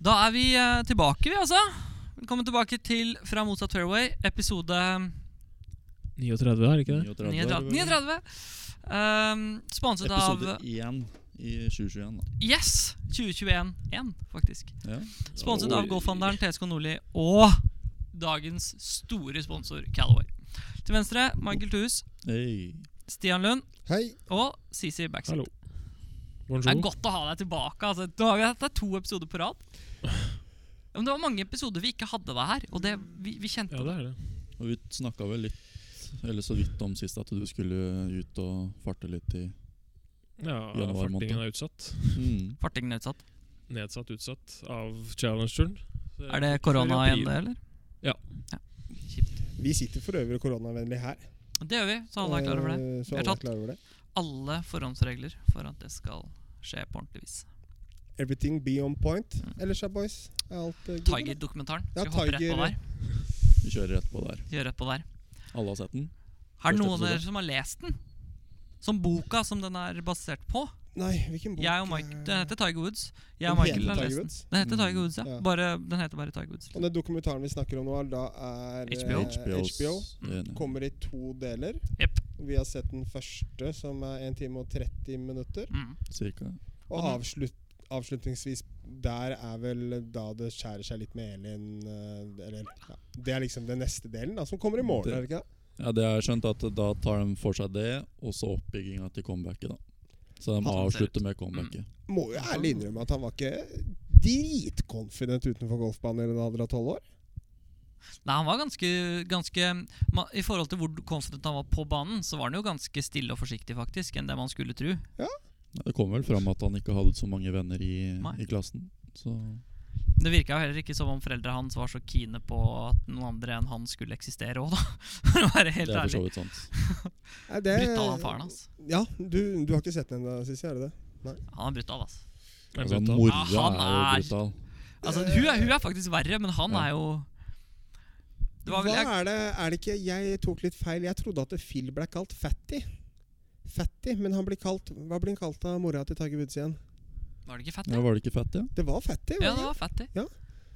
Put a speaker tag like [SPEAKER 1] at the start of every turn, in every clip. [SPEAKER 1] Da er vi eh, tilbake, vi altså. Velkommen tilbake til Fra motsatt fairway, episode
[SPEAKER 2] 39, er det ikke det?
[SPEAKER 1] 39. 39. Ehm, sponset
[SPEAKER 3] Episode
[SPEAKER 1] av
[SPEAKER 3] 1 i 2021. da.
[SPEAKER 1] Yes! 2021-1, faktisk.
[SPEAKER 3] Ja.
[SPEAKER 1] Sponset
[SPEAKER 3] Oi.
[SPEAKER 1] av golfhandleren TSK Nordli og dagens store sponsor Calaway. Til venstre Michael Thues,
[SPEAKER 3] Hey.
[SPEAKER 1] Stian Lund
[SPEAKER 4] Hei.
[SPEAKER 1] og Sisi Backstreet.
[SPEAKER 2] Hallo.
[SPEAKER 1] Det er
[SPEAKER 2] Bonjour.
[SPEAKER 1] godt å ha deg tilbake. altså. Nå har vi hatt deg to episoder på rad. Ja, Men det var mange episoder vi ikke hadde deg her, og det, vi, vi kjente
[SPEAKER 2] Ja, det er det.
[SPEAKER 3] Og vi snakka vel litt, eller så vidt om sist, at du skulle ut og farte litt i
[SPEAKER 2] Ja,
[SPEAKER 3] Januar måned.
[SPEAKER 2] fartingen er utsatt.
[SPEAKER 3] mm.
[SPEAKER 1] fartingen er utsatt.
[SPEAKER 2] Nedsatt utsatt av Challenger-turen. Så
[SPEAKER 1] Er det
[SPEAKER 2] jeg fikk
[SPEAKER 1] korona
[SPEAKER 2] før i
[SPEAKER 1] igjen, det,
[SPEAKER 2] april.
[SPEAKER 1] eller?
[SPEAKER 2] Ja.
[SPEAKER 1] Kjipt.
[SPEAKER 4] Vi sitter for øvrig koronavennlig her.
[SPEAKER 1] Det gjør vi, så alle er klar over det.
[SPEAKER 4] Eh, Så
[SPEAKER 1] Vi er
[SPEAKER 4] alle er
[SPEAKER 1] tatt.
[SPEAKER 4] klar over det.
[SPEAKER 1] Alle forhåndsregler for at det skal skje på ordentlig vis.
[SPEAKER 4] Everything be on point. Ellers, ja, boys, er alt eh, good, eller?
[SPEAKER 1] Tiger-dokumentaren. Skal vi hoppe rett på
[SPEAKER 4] Tiger-
[SPEAKER 1] der?
[SPEAKER 3] Vi kjører rett på der.
[SPEAKER 1] Gjør rett på der.
[SPEAKER 3] Alle har sett den?
[SPEAKER 1] Er det
[SPEAKER 3] Første
[SPEAKER 1] noen av dere
[SPEAKER 3] episode.
[SPEAKER 1] som har lest den? Som boka som den er basert på?
[SPEAKER 4] Nei, hvilken bok?
[SPEAKER 1] Jeg og Mike, Den
[SPEAKER 4] eh,
[SPEAKER 1] heter Tiger Woods. Jeg
[SPEAKER 4] den
[SPEAKER 1] og Michael
[SPEAKER 4] heter
[SPEAKER 1] har
[SPEAKER 4] Tiger
[SPEAKER 1] lest den.
[SPEAKER 4] Woods?
[SPEAKER 1] Den heter Tiger
[SPEAKER 3] Mm.
[SPEAKER 1] Woods, ja.
[SPEAKER 4] Ja.
[SPEAKER 1] Bare, den heter bare Tiger Woods.
[SPEAKER 4] Og den dokumentaren vi snakker om nå, da er eh,
[SPEAKER 1] HBO.
[SPEAKER 4] HBO.
[SPEAKER 3] enig.
[SPEAKER 4] Kommer i to deler.
[SPEAKER 1] Jepp.
[SPEAKER 4] Vi har sett den første, som er 1 time og 30 minutter.
[SPEAKER 1] Mm.
[SPEAKER 3] Cirka.
[SPEAKER 4] Og
[SPEAKER 1] Og
[SPEAKER 4] avslut, avslutningsvis der er vel da det skjærer seg litt med Elin eh, Eller ja. Det er liksom den neste delen, da, som kommer i morgen.
[SPEAKER 3] Det-
[SPEAKER 4] er det ikke det?
[SPEAKER 3] Ja, det har jeg skjønt at da tar de for seg det, og så oppbygginga til comebacket, da. Så
[SPEAKER 1] Sånn
[SPEAKER 3] de
[SPEAKER 1] ser det
[SPEAKER 3] avslutter med comebacket.
[SPEAKER 4] Må jo
[SPEAKER 1] Mhm.
[SPEAKER 4] ærlig innrømme at han var ikke dritconfident utenfor golfbanen eller da han hadde vært tolv år.
[SPEAKER 1] Nei, han var ganske, ganske ma- I forhold til hvor confident han var på banen, så var han jo ganske stille og forsiktig, faktisk, enn det man skulle tro.
[SPEAKER 3] Det kom vel fram at han ikke hadde så mange venner i,
[SPEAKER 1] Nei.
[SPEAKER 3] i klassen. Så
[SPEAKER 1] Det virka jo heller ikke som om foreldra hans var så kine på at noen andre enn han skulle eksistere òg, da. For å være helt
[SPEAKER 3] det er for så
[SPEAKER 1] ærlig.
[SPEAKER 3] vidt sant.
[SPEAKER 4] Nei, det-
[SPEAKER 1] Brutal han faren hans.
[SPEAKER 4] Ja, du, du har ikke sett den ennå, Sissy? Er det det?
[SPEAKER 1] Han er brutal, altså.
[SPEAKER 2] Er
[SPEAKER 3] Altså,
[SPEAKER 2] det brutal?
[SPEAKER 3] Mora
[SPEAKER 1] Ja, Ah, han
[SPEAKER 3] er
[SPEAKER 1] er-
[SPEAKER 3] jo brutal.
[SPEAKER 1] altså hun, er, hun er faktisk verre, men han
[SPEAKER 3] Ja.
[SPEAKER 1] er jo Det var vel jeg,
[SPEAKER 4] Hva er det Er det ikke Jeg tok litt feil. Jeg trodde at Phil ble kalt Fatty. Fatty, men han blir kalt Hva blir han kalt av mora til Tiger Woods igjen?
[SPEAKER 1] Var det ikke fett?
[SPEAKER 3] Ja,
[SPEAKER 1] Ja,
[SPEAKER 3] var det ikke fett, ja?
[SPEAKER 4] Det var Fatty. var
[SPEAKER 1] ja
[SPEAKER 4] det
[SPEAKER 1] det
[SPEAKER 4] ikke?
[SPEAKER 1] var fett, det.
[SPEAKER 4] Ja.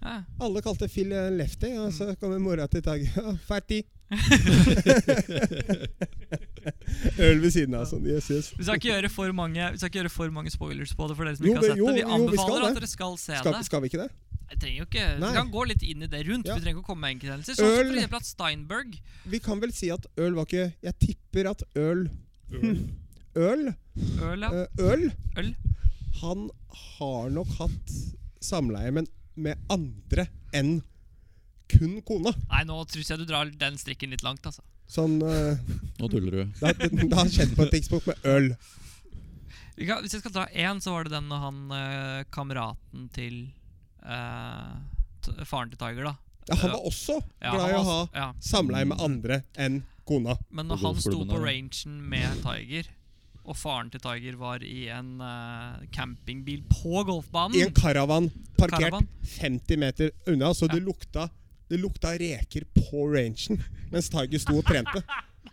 [SPEAKER 1] Ja.
[SPEAKER 4] Alle kalte Phil eh, Lefty, og så
[SPEAKER 1] Mm.
[SPEAKER 4] kommer mora til Tiger Fatty! Øl ved siden av sånn. Yes, yes.
[SPEAKER 1] Vi skal ikke gjøre for mange Vi skal ikke gjøre for mange spoilers på det for dere som
[SPEAKER 4] Jo,
[SPEAKER 1] ikke har
[SPEAKER 4] det-
[SPEAKER 1] sett
[SPEAKER 4] jo,
[SPEAKER 1] det. Vi
[SPEAKER 4] jo, vi skal
[SPEAKER 1] anbefaler
[SPEAKER 4] det.
[SPEAKER 1] at dere skal se
[SPEAKER 4] Skal,
[SPEAKER 1] det.
[SPEAKER 4] skal vi ikke det?
[SPEAKER 1] Jeg trenger jo ikke Vi
[SPEAKER 4] Nei.
[SPEAKER 1] kan gå litt inn i det rundt.
[SPEAKER 4] Ja.
[SPEAKER 1] Vi trenger ikke å komme med enkelthendelser. Sånn som
[SPEAKER 4] Øl.
[SPEAKER 1] for eksempel at Steinberg
[SPEAKER 4] Vi kan vel si at øl var ikke Jeg tipper at øl Øl?
[SPEAKER 1] Øl, ja.
[SPEAKER 4] eh, øl?
[SPEAKER 1] Øl.
[SPEAKER 4] Han har nok hatt samleie, men med andre enn kun kona.
[SPEAKER 1] Nei, nå tror jeg du drar den strikken litt langt, altså.
[SPEAKER 4] Sånn eh,
[SPEAKER 3] Nå tuller du.
[SPEAKER 4] det, har- det har skjedd på et tidspunkt med øl.
[SPEAKER 1] Vi kan, hvis jeg skal dra én, så var det den når han eh, kameraten til eh, t faren til Tiger, da.
[SPEAKER 4] Ja, han var også
[SPEAKER 1] Ja,
[SPEAKER 4] glad i
[SPEAKER 1] han
[SPEAKER 4] å ha
[SPEAKER 1] var- ja.
[SPEAKER 4] samleie med andre enn kona.
[SPEAKER 1] Men
[SPEAKER 3] På
[SPEAKER 1] når han sto
[SPEAKER 3] golfklubben
[SPEAKER 1] på
[SPEAKER 3] der, ja.
[SPEAKER 1] rangen med Tiger, og faren til Tiger var i en eh, campingbil på golfbanen
[SPEAKER 4] I en caravan parkert
[SPEAKER 1] Mm. Caravan.
[SPEAKER 4] 50 meter unna, så det lukta det lukta reker på rangen mens Tiger sto og trente.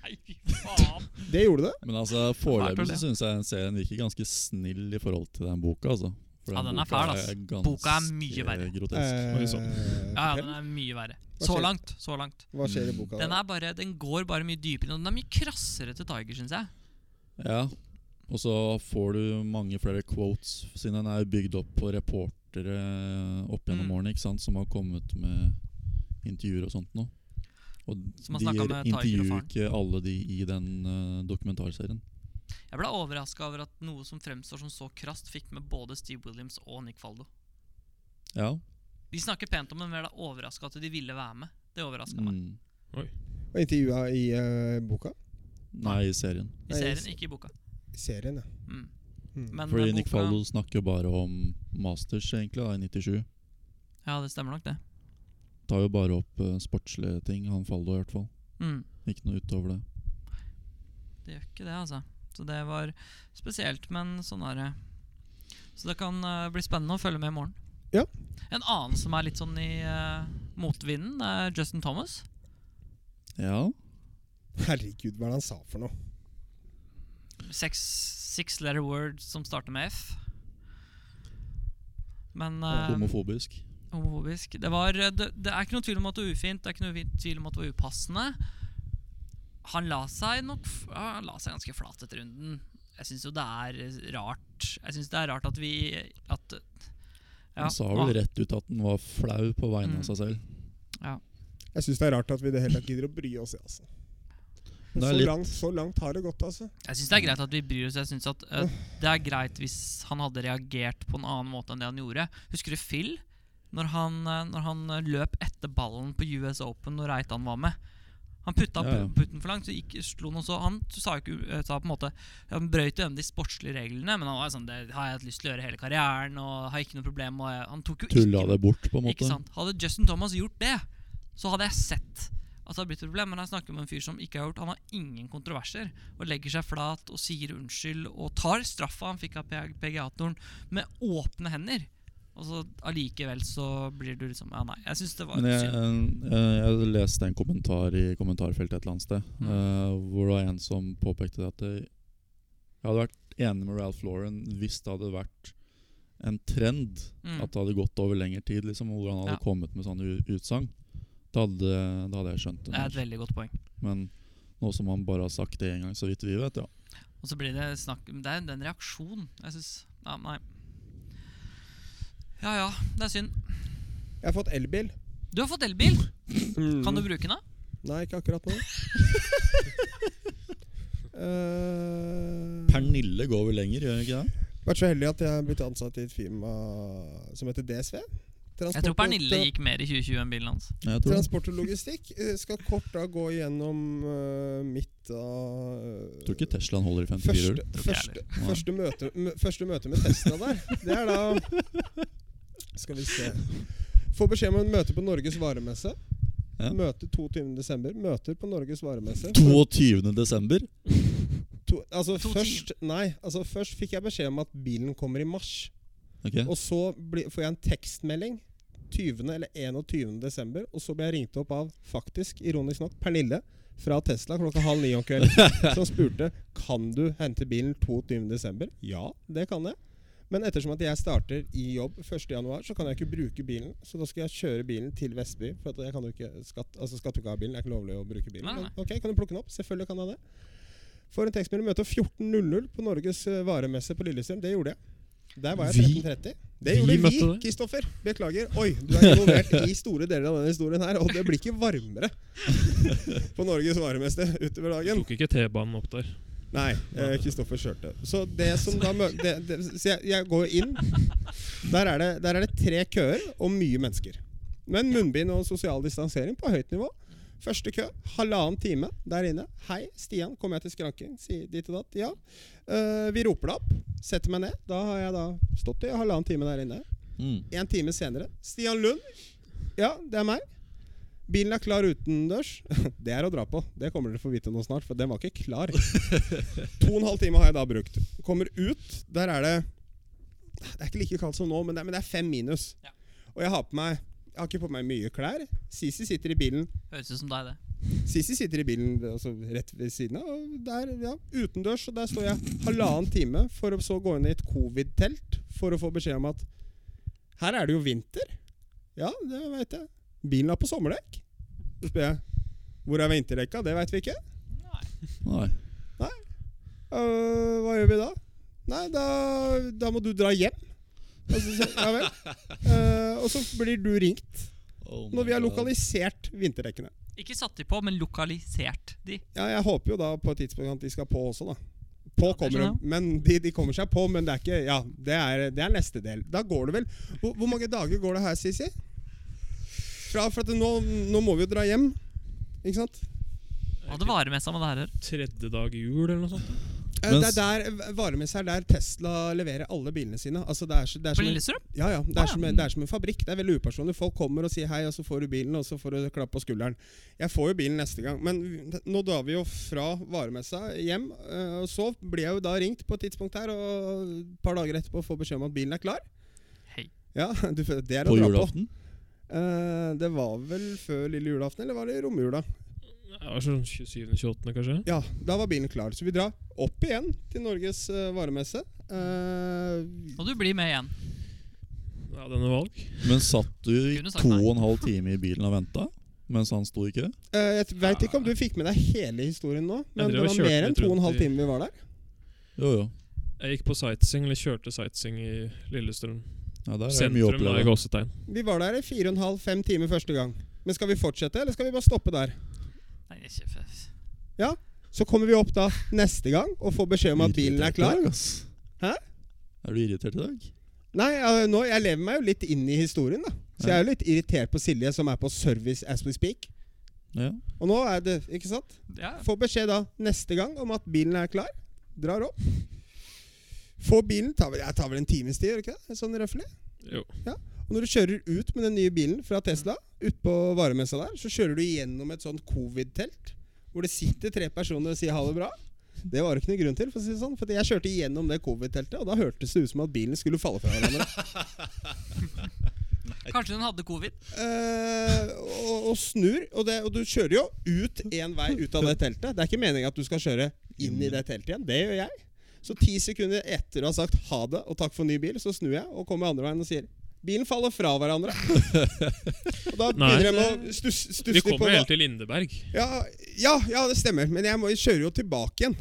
[SPEAKER 1] Nei, fy faen!
[SPEAKER 4] Det gjorde det.
[SPEAKER 3] Men altså,
[SPEAKER 1] Fælt å
[SPEAKER 3] foreløpig
[SPEAKER 1] le.
[SPEAKER 3] så syns jeg serien virker ganske snill i forhold til den boka, altså. For
[SPEAKER 1] Ja, den er
[SPEAKER 3] boka
[SPEAKER 1] fæl, ass.
[SPEAKER 3] ganske
[SPEAKER 1] Boka er mye verre.
[SPEAKER 3] Grotesk.
[SPEAKER 2] Oi, sånn.
[SPEAKER 4] Eh,
[SPEAKER 1] Ja, ja,
[SPEAKER 4] fortell.
[SPEAKER 1] den er mye verre.
[SPEAKER 4] Hva
[SPEAKER 1] Så
[SPEAKER 4] skjer?
[SPEAKER 1] langt. så langt
[SPEAKER 4] Hva skjer i boka?
[SPEAKER 1] Den, er bare, den går bare mye dypere. og Den er mye krassere til Tiger, syns jeg.
[SPEAKER 3] Ja. Og så får du mange flere quotes, siden den er bygd opp på reportere opp gjennom
[SPEAKER 1] Mm.
[SPEAKER 3] årene, ikke sant, som har kommet med intervjuer og sånt noe. Og
[SPEAKER 1] Som har
[SPEAKER 3] de
[SPEAKER 1] snakket med Tiger og
[SPEAKER 3] intervjuer
[SPEAKER 1] faren.
[SPEAKER 3] ikke alle de i den eh, dokumentarserien.
[SPEAKER 1] Jeg ble overraska over at noe som fremstår som så krast, fikk med både Steve Williams og Nick Faldo.
[SPEAKER 3] Ja.
[SPEAKER 1] De snakker pent om den, men jeg ble overraska at de ville være med. Det overraska meg.
[SPEAKER 3] Mm.
[SPEAKER 4] Og intervjua i eh, boka?
[SPEAKER 3] Mm. Nei, i serien.
[SPEAKER 1] I
[SPEAKER 4] Nei,
[SPEAKER 1] serien,
[SPEAKER 4] s-
[SPEAKER 1] ikke i boka.
[SPEAKER 4] Serien, ja.
[SPEAKER 1] Mm.
[SPEAKER 4] Mm.
[SPEAKER 1] Men
[SPEAKER 3] Fordi
[SPEAKER 1] eh,
[SPEAKER 3] Nick
[SPEAKER 1] boka-
[SPEAKER 3] Faldo snakker jo bare om masters, egentlig, da, i 97.
[SPEAKER 1] Ja, det stemmer nok, det.
[SPEAKER 3] Tar jo bare opp eh, sportslige ting, han Faldo i hvert fall.
[SPEAKER 1] Mm.
[SPEAKER 3] Ikke noe utover det.
[SPEAKER 1] Det gjør ikke det, altså. Så det var spesielt, men sånn er det. Så det kan eh, bli spennende å følge med i morgen.
[SPEAKER 4] Ja.
[SPEAKER 1] En annen som er litt sånn i eh, motvinden, er Justin Thomas.
[SPEAKER 3] Ja,
[SPEAKER 4] Herregud, hva er det han sa for noe?
[SPEAKER 1] Seks six letter words som starter med F. Men eh,
[SPEAKER 3] Homofobisk.
[SPEAKER 1] homofobisk. Det, var, eh, det, det er ikke noe tvil om at det var ufint, det er ikke noe vi- tvil om at det var upassende. Han la seg nok f- ja, Han la seg ganske flat etter runden. Jeg syns jo det er rart Jeg synes det er rart at vi at, ja,
[SPEAKER 3] Han sa
[SPEAKER 1] ah,
[SPEAKER 3] vel rett ut at han var flau på vegne
[SPEAKER 1] Mm.
[SPEAKER 3] av seg selv.
[SPEAKER 4] Jeg syns det er rart at vi i det hele tatt gidder å bry oss, altså.
[SPEAKER 3] Det
[SPEAKER 4] Men
[SPEAKER 3] er
[SPEAKER 4] så,
[SPEAKER 3] litt-
[SPEAKER 4] langt, så langt har det gått, altså.
[SPEAKER 1] Jeg syns det er greit at vi bryr oss. Jeg synes at eh, Det er greit hvis han hadde reagert på en annen måte enn det han gjorde. Husker du Phil? Når han, eh, når han eh, løp etter ballen på US Open når Reitan var med. Han putta
[SPEAKER 3] Ja, ja.
[SPEAKER 1] pu- putten for langt, så gikk, slo noe så Han sa jo ikke eh, sa på en måte Han brøt jo en av de sportslige reglene, men han var jo sånn Det har jeg hatt lyst til å gjøre hele karrieren, og har ikke noe problem og jeg, Han tok jo
[SPEAKER 3] Tulla
[SPEAKER 1] ikke
[SPEAKER 3] det bort, på en måte.
[SPEAKER 1] ikke sant? Hadde Justin Thomas gjort det, så hadde jeg sett at det hadde blitt et problem. Men jeg snakker om en fyr som ikke har gjort Han har ingen kontroverser. Og legger seg flat og sier unnskyld og tar straffa han fikk av PGA-toren, med åpne hender. Og så allikevel så blir du liksom Ja, nei. Jeg syns det var
[SPEAKER 3] Men jeg,
[SPEAKER 1] synd.
[SPEAKER 3] eh, jeg leste en kommentar i kommentarfeltet et eller annet sted,
[SPEAKER 1] Mm.
[SPEAKER 3] eh, hvor det var en som påpekte at det, jeg hadde vært enig med Ralph Lauren hvis det hadde vært en trend,
[SPEAKER 1] Mm.
[SPEAKER 3] at det hadde gått over lengre tid, liksom, hvor han hadde
[SPEAKER 1] Ja.
[SPEAKER 3] kommet med sånne u- utsagn. Da hadde, da hadde jeg skjønt det.
[SPEAKER 1] Det er et
[SPEAKER 3] mer.
[SPEAKER 1] veldig godt poeng.
[SPEAKER 3] Men nå som han bare har sagt det én gang, så vidt vi vet, ja.
[SPEAKER 1] Og så blir det snakk men Det er den reaksjonen. Jeg syns Ja, nei. Ja ja, det er synd.
[SPEAKER 4] Jeg har fått elbil.
[SPEAKER 1] Du har fått elbil.
[SPEAKER 3] Hmm.
[SPEAKER 1] Kan du bruke den? da?
[SPEAKER 4] Nei, ikke akkurat nå. Eh,
[SPEAKER 3] Pernille går vel lenger, gjør hun ikke det?
[SPEAKER 4] vært så heldig at jeg er blitt ansatt i et firma som heter DSV.
[SPEAKER 1] Jeg tror
[SPEAKER 4] Transport-
[SPEAKER 1] Pernille gikk mer i 2020 enn bilen hans.
[SPEAKER 3] Jeg tror, det.
[SPEAKER 4] Transport og logistikk eh, skal kort da gå igjennom eh, mitt av eh,
[SPEAKER 3] jeg tror ikke Teslaen holder i 54
[SPEAKER 4] første,
[SPEAKER 3] hull.
[SPEAKER 1] Tror ikke jeg
[SPEAKER 4] første,
[SPEAKER 3] Nei.
[SPEAKER 4] første, møte, mø- første møte med Tesla der, det er da Skal vi se Få beskjed om en møte på Norges varemesse.
[SPEAKER 3] Ja.
[SPEAKER 4] Møte 22.12. Møter på Norges varemesse.
[SPEAKER 3] 22. desember?
[SPEAKER 4] To, altså
[SPEAKER 1] To
[SPEAKER 4] først, nei, altså først fikk jeg beskjed om at bilen kommer i mars.
[SPEAKER 3] Ok.
[SPEAKER 4] Og så bli, får jeg en tekstmelding 20. eller 21. desember, og så ble jeg ringt opp av, faktisk, ironisk nok, Pernille fra Tesla klokka halv ni om kvelden, som spurte kan du hente bilen 22. desember. Ja, det kan jeg. Men ettersom at jeg starter i jobb 1. januar, så kan jeg ikke bruke bilen. Så da skal jeg kjøre bilen til Vestby. For at jeg kan jo ikke skatt, altså skatter jo ikke av bilen. Det er ikke lovlig å bruke bilen.
[SPEAKER 1] Nei, nei.
[SPEAKER 4] Men ok, kan du plukke den opp? Selvfølgelig kan jeg det. For en tekstmelding møte 14.00 på Norges eh, varemesse på Lillestrøm. Det gjorde jeg. Der var jeg
[SPEAKER 2] Vi-
[SPEAKER 4] 13.30.
[SPEAKER 2] vi
[SPEAKER 4] Det gjorde vi,
[SPEAKER 2] møtte det.
[SPEAKER 4] Kristoffer. Beklager. Oi, du er involvert i store deler av denne historien her, og det blir ikke varmere på Norges varemeste utover dagen.
[SPEAKER 2] Tok ikke T-banen opp der.
[SPEAKER 4] Nei, eh, Kristoffer kjørte. Så det som da mø- det, det, Så jeg, jeg går inn. Der er, det, der er det tre køer og mye mennesker. Men munnbind og sosial distansering på høyt nivå. Første kø, halvannen time der inne. Hei, Stian, kommer jeg til skranken? Sier dit og datt. Ja. Eh, vi roper det opp. Setter meg ned. Da har jeg da stått i halvannen time der inne.
[SPEAKER 3] Mm.
[SPEAKER 4] En time senere. Stian Lund. Ja, det er meg. Bilen er klar utendørs. Det er å dra på. Det kommer dere få vite nå snart, for den var ikke klar. To og en halv time har jeg da brukt. Kommer ut. Der er det Det er ikke like kaldt som nå, men det er, men det er fem minus.
[SPEAKER 1] Ja.
[SPEAKER 4] Og jeg har på meg Jeg har ikke på meg mye klær. Sisi sitter i bilen
[SPEAKER 1] Høres ut som deg, det.
[SPEAKER 4] Sisi sitter i bilen altså, rett ved siden av. Og der, ja, utendørs, og der står jeg halvannen time for å så gå inn i et covid-telt for å få beskjed om at her er det jo vinter. Ja, det veit jeg. Bilen er på sommerdekk. Så spør jeg hvor er vinterdekka? Det veit vi ikke.
[SPEAKER 3] Nei.
[SPEAKER 4] «Øh, hva gjør vi da? Nei, da, da må du dra hjem. Og så, sier jeg, ja vel. Øh, og så blir du ringt når vi har lokalisert vinterdekkene.
[SPEAKER 1] Ikke satt de på, men lokalisert de.
[SPEAKER 4] Ja, jeg håper jo da på et tidspunkt at de skal på også, da. På
[SPEAKER 1] Ja, det
[SPEAKER 4] kommer
[SPEAKER 1] skjønner
[SPEAKER 4] de, men de, de kommer seg på, men det er ikke Ja, det er, det er neste del. Da går det vel Hvor, hvor mange dager går det her, Sisi? Fra, for at nå, nå må vi jo dra hjem, ikke sant?
[SPEAKER 1] Hva det varer med seg med det her?
[SPEAKER 2] Tredje dag i jul eller noe sånt.
[SPEAKER 4] Eh,
[SPEAKER 3] Mens-
[SPEAKER 4] det er der varemesse er der Tesla leverer alle bilene sine. Altså det er, så- det er
[SPEAKER 1] På
[SPEAKER 4] som en,
[SPEAKER 1] Lillestrøm?
[SPEAKER 4] ja, ja, det,
[SPEAKER 1] Ah,
[SPEAKER 4] er som en, det er som en fabrikk. Det er veldig upersonlig. Folk kommer og sier hei, og så får du bilen, og så får du klapp på skulderen. Jeg får jo bilen neste gang. Men vi- nå drar vi jo fra varemessa hjem, eh, og så blir jeg jo da ringt på et tidspunkt her, og et par dager etterpå får beskjed om at bilen er klar.
[SPEAKER 1] Hei.
[SPEAKER 4] Ja, du, får- det er
[SPEAKER 3] På
[SPEAKER 4] å dra på.
[SPEAKER 3] julaften?
[SPEAKER 4] Eh, det var vel før lille julaften, eller var det i romjula?
[SPEAKER 2] Det var sånn 27.-28. kanskje.
[SPEAKER 4] Ja, da var bilen klar. Så vi drar opp igjen til Norges eh, varemesse. Eh,
[SPEAKER 1] Og du blir med igjen.
[SPEAKER 2] Nei, Ja, denne valg.
[SPEAKER 3] Men satt du i
[SPEAKER 1] Kunne sagt
[SPEAKER 3] to
[SPEAKER 1] nei.
[SPEAKER 3] og en halv time i bilen og venta mens han sto i kø?
[SPEAKER 4] Eh, jeg veit ikke om du fikk med deg hele historien nå, men
[SPEAKER 2] drev
[SPEAKER 4] det
[SPEAKER 2] og
[SPEAKER 4] var
[SPEAKER 2] kjørte
[SPEAKER 4] mer enn
[SPEAKER 2] litt
[SPEAKER 4] to og en
[SPEAKER 2] rundt
[SPEAKER 4] halv
[SPEAKER 2] i-
[SPEAKER 4] time vi var der.
[SPEAKER 3] Jo, jo.
[SPEAKER 2] Jeg gikk på sightseeing, eller kjørte sightseeing i Lillestrøm.
[SPEAKER 3] Ja, der er det
[SPEAKER 2] Sentrum, da,
[SPEAKER 3] mye å
[SPEAKER 2] i
[SPEAKER 3] oppleve.
[SPEAKER 2] gåsetegn.
[SPEAKER 4] Vi var der i fire og en halv, fem timer første gang. Men skal vi fortsette, eller skal vi bare stoppe der?
[SPEAKER 1] Nei, det er ikke f-
[SPEAKER 4] Så kommer vi opp da neste gang og får beskjed om at bilen er
[SPEAKER 3] Irritert i
[SPEAKER 4] klar.
[SPEAKER 3] dag, ass.
[SPEAKER 4] Hæ?
[SPEAKER 3] Er du irritert i dag?
[SPEAKER 4] Nei, jeg, nå, jeg lever meg jo litt inn i historien, da. Så jeg er jo litt irritert på Silje, som er på service as we speak.
[SPEAKER 3] Ja.
[SPEAKER 4] Og nå er det Ikke sant?
[SPEAKER 1] ja.
[SPEAKER 4] Får beskjed da neste gang om at bilen er klar. Drar opp. Får bilen tar vel, Jeg tar vel en times tid, gjør det ikke det? Sånn røffelig.
[SPEAKER 2] Jo.
[SPEAKER 4] Og når du kjører ut med den nye bilen fra Tesla, utpå varemessa der, så kjører du gjennom et sånt covid-telt, hvor det sitter tre personer og sier ha det bra. Det var det ikke noen grunn til, for å si det sånn. For jeg kjørte gjennom det covid-teltet, og da hørtes det ut som at bilen skulle falle fra hverandre.
[SPEAKER 1] Kanskje hun hadde covid.
[SPEAKER 4] Eh, og, og snur, og, det, og du kjører jo ut én vei ut av det teltet. Det er ikke meningen at du skal kjøre inn i det teltet igjen. Det gjør jeg. Så ti sekunder etter å ha sagt ha det og takk for ny bil, så snur jeg og kommer andre veien og sier Bilen faller fra hverandre. og da
[SPEAKER 2] Nei.
[SPEAKER 4] begynner jeg med å stusse stusse
[SPEAKER 2] Vi
[SPEAKER 4] litt på
[SPEAKER 2] kommer jo
[SPEAKER 4] hva-
[SPEAKER 2] helt til Lindeberg.
[SPEAKER 4] ja, ja, ja, det stemmer. Men jeg, må, jeg kjører jo tilbake igjen.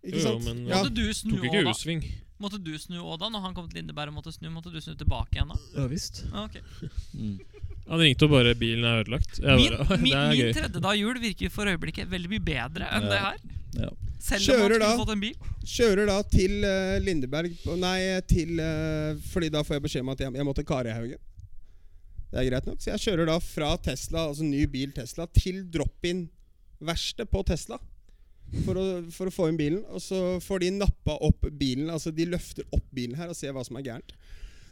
[SPEAKER 4] Ikke
[SPEAKER 2] Jo, jo,
[SPEAKER 4] sant?
[SPEAKER 2] men-
[SPEAKER 4] ja.
[SPEAKER 1] Måtte du snu
[SPEAKER 2] Tok ikke
[SPEAKER 1] òg, da?
[SPEAKER 2] U-sving.
[SPEAKER 1] Måtte du snu også da? Når han kom til Lindeberg og måtte snu, måtte du snu tilbake igjen da?
[SPEAKER 2] Ja visst.
[SPEAKER 1] Ah, ok.
[SPEAKER 3] Mm.
[SPEAKER 2] Han ringte og bare 'bilen er ødelagt'. Jeg
[SPEAKER 1] Min,
[SPEAKER 2] bare,
[SPEAKER 1] min,
[SPEAKER 2] det er
[SPEAKER 1] min
[SPEAKER 2] gøy.
[SPEAKER 1] tredje dag jul virker for øyeblikket veldig mye bedre enn
[SPEAKER 3] Ja.
[SPEAKER 1] det her.
[SPEAKER 3] Ja.
[SPEAKER 1] Selv om han
[SPEAKER 4] Kjører
[SPEAKER 1] skulle
[SPEAKER 4] da.
[SPEAKER 1] fått en bil.
[SPEAKER 4] Kjører da til eh, Lindeberg Nei, til eh, Fordi da får jeg beskjed om at jeg, jeg må til Karihaugen. Det er greit nok. Så jeg kjører da fra Tesla, altså ny bil Tesla, til drop-in-verkstedet på Tesla. For å, for å få inn bilen. Og så får de nappa opp bilen. Altså de løfter opp bilen her og ser hva som er gærent.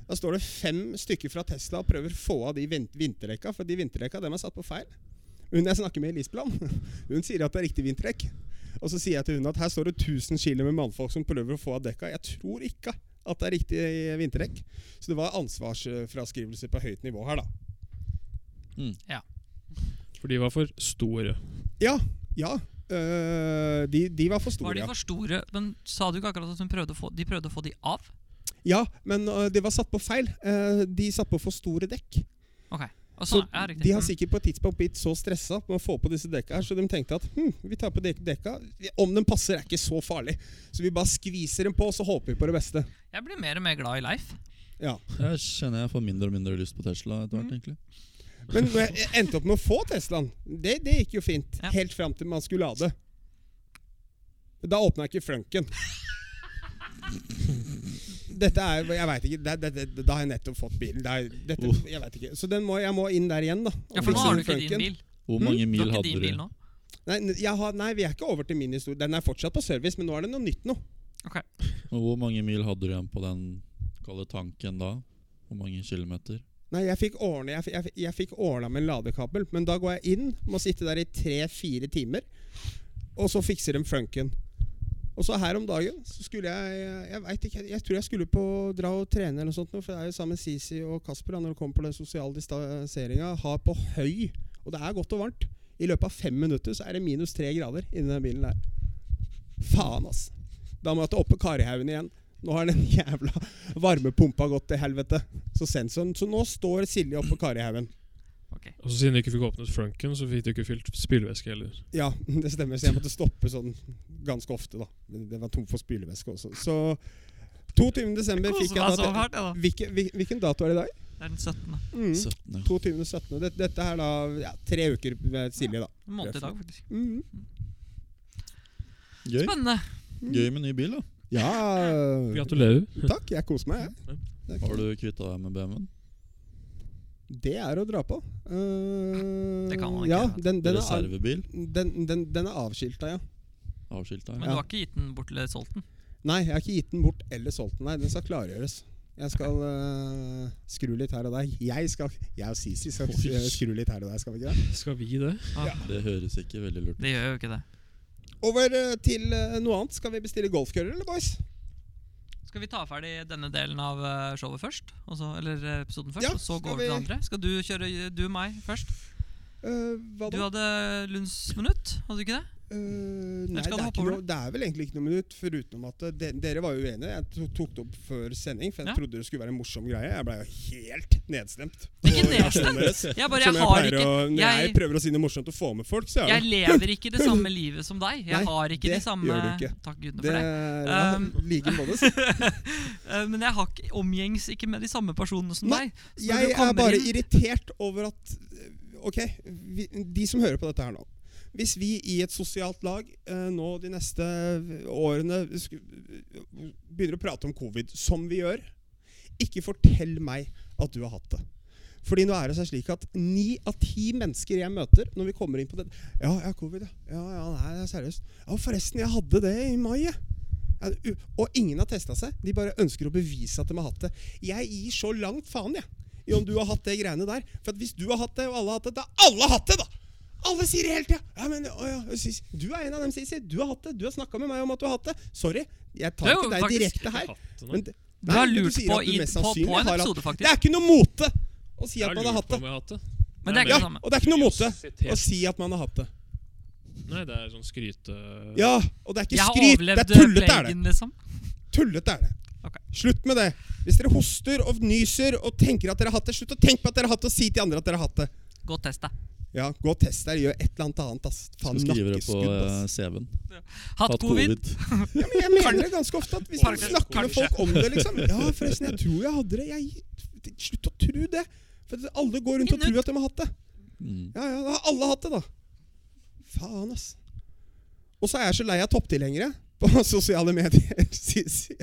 [SPEAKER 4] Da står det fem stykker fra Tesla og prøver å få av de vin- vinterrekka, for de vinterrekka dem er satt på feil. Hun jeg snakker med i Lisbland, hun sier at det er riktig vinterrekk. Og så sier jeg til hun at her står det 1000 kg med mannfolk som prøver å få av dekka. Jeg tror ikke at det er riktig eh, vinterdekk. Så det var ansvarsfraskrivelse på høyt nivå her, da.
[SPEAKER 2] For de var for store.
[SPEAKER 4] Ja. Ja. øh, de, de var for store,
[SPEAKER 1] Var de
[SPEAKER 4] ja.
[SPEAKER 1] for store? Men sa du ikke akkurat at hun prøvde å få, de prøvde å få de av?
[SPEAKER 4] ja. Men øh, det var satt på feil. Eh, de satt på for store dekk.
[SPEAKER 1] Ok. Og
[SPEAKER 4] Så
[SPEAKER 1] sånn, ja, riktig.
[SPEAKER 4] De har sikkert på et tidspunkt blitt så stressa med å få på disse dekka her, så de tenkte at hm, vi tar på dek dekka. Om den passer, er ikke så farlig. Så vi bare skviser dem på, og så håper vi på det beste.
[SPEAKER 1] Jeg blir mer og mer glad i Leif.
[SPEAKER 4] Ja.
[SPEAKER 3] Jeg kjenner jeg får mindre og mindre lyst på Tesla etter hvert,
[SPEAKER 1] Mm.
[SPEAKER 3] egentlig.
[SPEAKER 4] Men når jeg endte opp med å få Teslaen. Det, det gikk jo fint.
[SPEAKER 1] Ja.
[SPEAKER 4] Helt fram til man skulle lade. Da åpna ikke flunken. Dette er Jeg veit ikke. Det, det, det, da har jeg nettopp fått bilen. Det er, dette,
[SPEAKER 3] Uff.
[SPEAKER 4] jeg vet ikke. Så den må, jeg må inn der igjen, da. og
[SPEAKER 1] Ja, For nå
[SPEAKER 4] fikse
[SPEAKER 1] har du
[SPEAKER 4] den
[SPEAKER 1] ikke din
[SPEAKER 4] flunken.
[SPEAKER 1] bil.
[SPEAKER 3] Hvor
[SPEAKER 4] Mm.
[SPEAKER 3] mange
[SPEAKER 1] Du
[SPEAKER 3] mil
[SPEAKER 1] har ikke
[SPEAKER 3] hadde
[SPEAKER 1] din bil
[SPEAKER 3] du?
[SPEAKER 1] nå.
[SPEAKER 4] Nei, n- jeg har, nei, vi er ikke over til min historie. Den er fortsatt på service, men nå er det noe nytt nå.
[SPEAKER 3] Og hvor mange mil hadde du igjen på den kalde tanken da? Hvor mange kilometer?
[SPEAKER 4] Nei, jeg fikk ordna jeg, fikk- jeg, fikk- jeg fikk ordnet med en ladekabel, men da går jeg inn, må sitte der i tre-fire timer, og så fikser de flunken. Og så her om dagen så skulle jeg Jeg vet ikke, jeg tror jeg skulle på dra og trene eller noe sånt, nå, for det er jo sammen med Sisi og Kasper da, når det kommer på den sosiale distanseringa, ha på høy, og det er godt og varmt. I løpet av fem minutter så er det minus tre grader inni den bilen der. Faen, ass. Da må jeg til oppe Karihaugen igjen. Nå har den jævla varmepumpa gått til helvete. Så sensoren Så nå står Silje oppå Karihaugen.
[SPEAKER 2] Og så siden du ikke fikk åpnet frunken, så fikk du ikke fylt spylevæske heller.
[SPEAKER 4] Ja, det stemmer. Så jeg måtte stoppe sånn ganske ofte, da. Men Det var tom for spylevæske også. Så 22. desember fikk
[SPEAKER 1] Koser meg
[SPEAKER 4] jeg
[SPEAKER 1] så
[SPEAKER 4] da
[SPEAKER 1] fælt, jeg, da.
[SPEAKER 4] Hvilken, hvil- hvilken dato er det i dag?
[SPEAKER 1] Det er den 17.
[SPEAKER 4] Mm.
[SPEAKER 3] 17.
[SPEAKER 4] 22. 17. Dette, dette er da ja, tre uker med Silje, da.
[SPEAKER 1] En måned i dag, faktisk.
[SPEAKER 4] Mm.
[SPEAKER 3] Gøy.
[SPEAKER 1] Spennende.
[SPEAKER 3] Gøy med ny bil, da.
[SPEAKER 4] Ja
[SPEAKER 2] Gratulerer.
[SPEAKER 4] Takk. Jeg koser meg, jeg. Det er
[SPEAKER 3] Har
[SPEAKER 4] ikke-
[SPEAKER 3] du kvitta deg med BMW-en?
[SPEAKER 4] Det er å dra på. Eh,
[SPEAKER 1] Det kan man ikke
[SPEAKER 4] Ja,
[SPEAKER 1] gjøre.
[SPEAKER 4] den, den, er, av-
[SPEAKER 3] Reservebil?
[SPEAKER 4] den, den, den er avskilta, ja.
[SPEAKER 3] Avskilta?
[SPEAKER 1] Men
[SPEAKER 3] Ja.
[SPEAKER 1] du har ikke gitt den bort eller solgt den?
[SPEAKER 4] Nei, jeg har ikke gitt den bort eller solgt den. Nei, Den skal klargjøres. Jeg skal øh, skru litt her og der. Jeg, skal, jeg og Sisi skal
[SPEAKER 2] Oi.
[SPEAKER 4] øh, skru litt her og der, skal vi ikke det?
[SPEAKER 2] Skal vi det?
[SPEAKER 1] Ah,
[SPEAKER 3] Det høres ikke veldig lurt ut.
[SPEAKER 1] Det gjør jo ikke det.
[SPEAKER 4] Over øh, til øh, noe annet. Skal vi bestille golfkøller, eller, boys?
[SPEAKER 1] Skal vi ta ferdig denne delen av eh, showet først? Og så, eller eh, episoden først,
[SPEAKER 4] Ja,
[SPEAKER 1] og så
[SPEAKER 4] skal
[SPEAKER 1] går vi til det
[SPEAKER 4] vi-
[SPEAKER 1] andre? Skal du kjøre eh, du og meg først?
[SPEAKER 4] Øh, hva
[SPEAKER 1] Du
[SPEAKER 4] da?
[SPEAKER 1] hadde Lunds minutt, hadde du ikke det?
[SPEAKER 4] Øh, nei, det
[SPEAKER 1] skal du
[SPEAKER 4] er,
[SPEAKER 1] hoppe
[SPEAKER 4] ikke
[SPEAKER 1] over
[SPEAKER 4] noe, det er vel egentlig ikke noe minutt, foruten at eh, de, dere var jo uenige. Jeg to- tok det opp før sending, for jeg
[SPEAKER 1] Ja.
[SPEAKER 4] trodde det skulle være en morsom greie. Jeg blei jo helt nedstemt.
[SPEAKER 1] Ikke
[SPEAKER 4] på
[SPEAKER 1] nedstemt.
[SPEAKER 4] reaksjonen deres.
[SPEAKER 1] Jeg bare, jeg
[SPEAKER 4] Som jeg
[SPEAKER 1] har
[SPEAKER 4] pleier
[SPEAKER 1] ikke
[SPEAKER 4] å, når jeg,
[SPEAKER 1] jeg-
[SPEAKER 4] prøver å si noe morsomt og få med folk, så
[SPEAKER 1] Jeg
[SPEAKER 4] er det
[SPEAKER 1] lever ikke det samme livet som deg. Jeg
[SPEAKER 4] Nei,
[SPEAKER 1] har ikke de
[SPEAKER 4] det
[SPEAKER 1] samme
[SPEAKER 4] gjør du ikke.
[SPEAKER 1] Takk gudene
[SPEAKER 4] det.
[SPEAKER 1] for det.
[SPEAKER 4] ja,
[SPEAKER 1] Um,
[SPEAKER 4] like måtes.
[SPEAKER 1] Eh, Men jeg har ikke, omgjengs ikke med de samme personene som
[SPEAKER 4] Nei,
[SPEAKER 1] deg. Så når
[SPEAKER 4] Jeg
[SPEAKER 1] du
[SPEAKER 4] er
[SPEAKER 1] kommer
[SPEAKER 4] bare
[SPEAKER 1] inn-
[SPEAKER 4] irritert over at eh, Ok, vi, de som hører på dette her nå. Hvis vi i et sosialt lag eh, nå de neste årene sku- begynner å prate om covid, som vi gjør, ikke fortell meg at du har hatt det. Fordi nå er det seg slik at ni av ti mennesker jeg møter når vi kommer inn på det Ja, jeg har covid, ja. Ja, ja, nei, det er seriøst. Ja, forresten, jeg hadde det i mai, jeg. Ja, u- og ingen har testa seg. De bare ønsker å bevise at de har hatt det. Jeg gir så langt faen, jeg, i om du har hatt det greiene der. For at hvis du har hatt det, og alle har hatt det, da har alle hatt det, da! Alle sier det hele tida! Ja, men, å, ja, Sissi, du er en av dem, Sissi. Du har hatt det. Du har snakka med meg om at du har hatt det. Sorry, jeg tar
[SPEAKER 1] Det er jo
[SPEAKER 4] ikke deg
[SPEAKER 1] faktisk-
[SPEAKER 4] direkte her.
[SPEAKER 2] Hatten,
[SPEAKER 4] Men, det-
[SPEAKER 1] Du har
[SPEAKER 4] Nei, men
[SPEAKER 1] lurt
[SPEAKER 4] sier
[SPEAKER 1] på
[SPEAKER 4] at du
[SPEAKER 1] i-
[SPEAKER 4] mest
[SPEAKER 1] på- på
[SPEAKER 4] sannsynlig
[SPEAKER 1] en
[SPEAKER 4] har hatt-
[SPEAKER 1] episode, faktisk.
[SPEAKER 4] Det er ikke noe mote å si
[SPEAKER 2] jeg
[SPEAKER 4] at man har hatt det.
[SPEAKER 2] om jeg har hatt det.
[SPEAKER 1] Men det er ikke
[SPEAKER 2] Ja.
[SPEAKER 1] det samme.
[SPEAKER 4] Og det er ikke noe mote
[SPEAKER 2] Sitert.
[SPEAKER 4] å si at man har hatt det.
[SPEAKER 2] Nei, det er sånn skryte...
[SPEAKER 4] Ja, og det er
[SPEAKER 1] Jeg
[SPEAKER 4] ikke
[SPEAKER 1] har
[SPEAKER 4] skryt. Det er
[SPEAKER 1] overlevd
[SPEAKER 4] tullete, er det.
[SPEAKER 1] plagen, liksom.
[SPEAKER 4] Tullete er det.
[SPEAKER 1] Ok.
[SPEAKER 4] Slutt med det. Hvis dere hoster og nyser og tenker at dere har hatt det, slutt å tenke på at dere har hatt det, og si til andre at dere har hatt det.
[SPEAKER 1] Godt test, da.
[SPEAKER 4] Ja, gå og test deg, gjør et eller annet annet, ass. Faen,
[SPEAKER 3] Skal skrive det på
[SPEAKER 4] nakkeskudd,
[SPEAKER 3] eh,
[SPEAKER 4] ass.
[SPEAKER 3] CV-en.
[SPEAKER 1] Hatt covid.
[SPEAKER 4] Ja, men jeg mener det ganske ofte, at hvis man
[SPEAKER 1] Kanskje-
[SPEAKER 4] snakker med folk om det, liksom Ja, forresten, jeg tror jeg hadde det. Jeg, slutt å tro det. For alle går rundt og tror at de har hatt det.
[SPEAKER 3] Mm.
[SPEAKER 4] Ja, ja, da har alle hatt det, da. Faen, ass. Og så er jeg så lei av topptilhengere på sosiale medier. Sisi.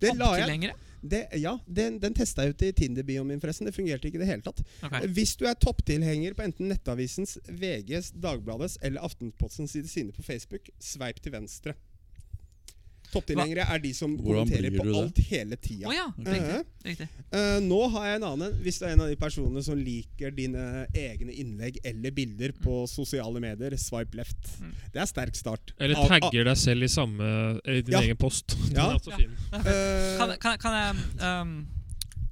[SPEAKER 4] Det la jeg,
[SPEAKER 1] Topptilhengere.
[SPEAKER 4] det, ja, den, den testa jeg ut i Tinder-bioen min, forresten. Det fungerte ikke i det hele tatt.
[SPEAKER 1] Ok.
[SPEAKER 4] Hvis du er topptilhenger på enten Nettavisens, VGs, Dagbladets eller Aftenpostens side- side på Facebook, sveip til venstre. Topptilhengere er de som
[SPEAKER 3] Hvordan
[SPEAKER 4] kommenterer
[SPEAKER 3] blir
[SPEAKER 4] på
[SPEAKER 3] du det?
[SPEAKER 4] alt hele
[SPEAKER 1] Å
[SPEAKER 4] tida.
[SPEAKER 1] ja.
[SPEAKER 4] Eh,
[SPEAKER 1] Riktig. riktig.
[SPEAKER 4] Eh, nå har jeg en annen en. Hvis du er en av de personene som liker dine egne innlegg eller bilder på sosiale medier, swipe left.
[SPEAKER 1] Mm.
[SPEAKER 4] Det er sterk start.
[SPEAKER 2] Eller
[SPEAKER 4] Av- av-
[SPEAKER 2] tagger deg selv i samme Eller i din
[SPEAKER 4] Ja.
[SPEAKER 2] egen post. Den
[SPEAKER 4] Ja.
[SPEAKER 2] er også
[SPEAKER 1] Ja.
[SPEAKER 2] fin.
[SPEAKER 4] eh,
[SPEAKER 1] Kan, kan, kan jeg um,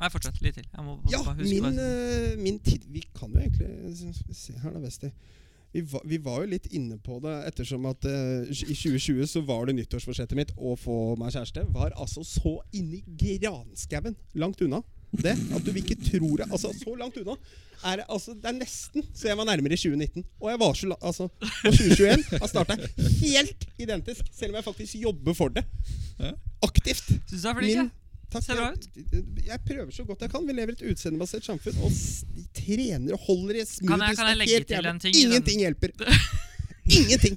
[SPEAKER 1] Nei, fortsett litt til. Jeg må bare
[SPEAKER 4] ja,
[SPEAKER 1] huske
[SPEAKER 4] min,
[SPEAKER 1] hva jeg-
[SPEAKER 4] eh, min tid Vi kan jo egentlig s- Se her, da, Westi. Vi, va, vi var jo litt inne på det ettersom at eh, i 2020 så var det nyttårsforsettet mitt å få meg kjæreste. Var altså så inni granskauen langt unna. Det at du ikke tror det. Altså, så langt unna. Er det, altså, det er nesten så jeg var nærmere i 2019. Og jeg var så la, altså, og 2021 har starta helt identisk, selv om jeg faktisk jobber for det.
[SPEAKER 3] Ja.
[SPEAKER 4] Aktivt.
[SPEAKER 1] Syns du er flink, jeg?
[SPEAKER 4] Takk,
[SPEAKER 1] Ser bra
[SPEAKER 4] Jeg, jeg prøver så godt jeg kan. Vi lever i et utseendebasert samfunn. Og s- de trener og holder i smoothies.
[SPEAKER 1] Kan jeg- kan jeg
[SPEAKER 4] det er
[SPEAKER 1] legge
[SPEAKER 4] helt
[SPEAKER 1] til
[SPEAKER 4] jævlig.
[SPEAKER 1] en ting i den?
[SPEAKER 4] Ingenting hjelper. Ingenting!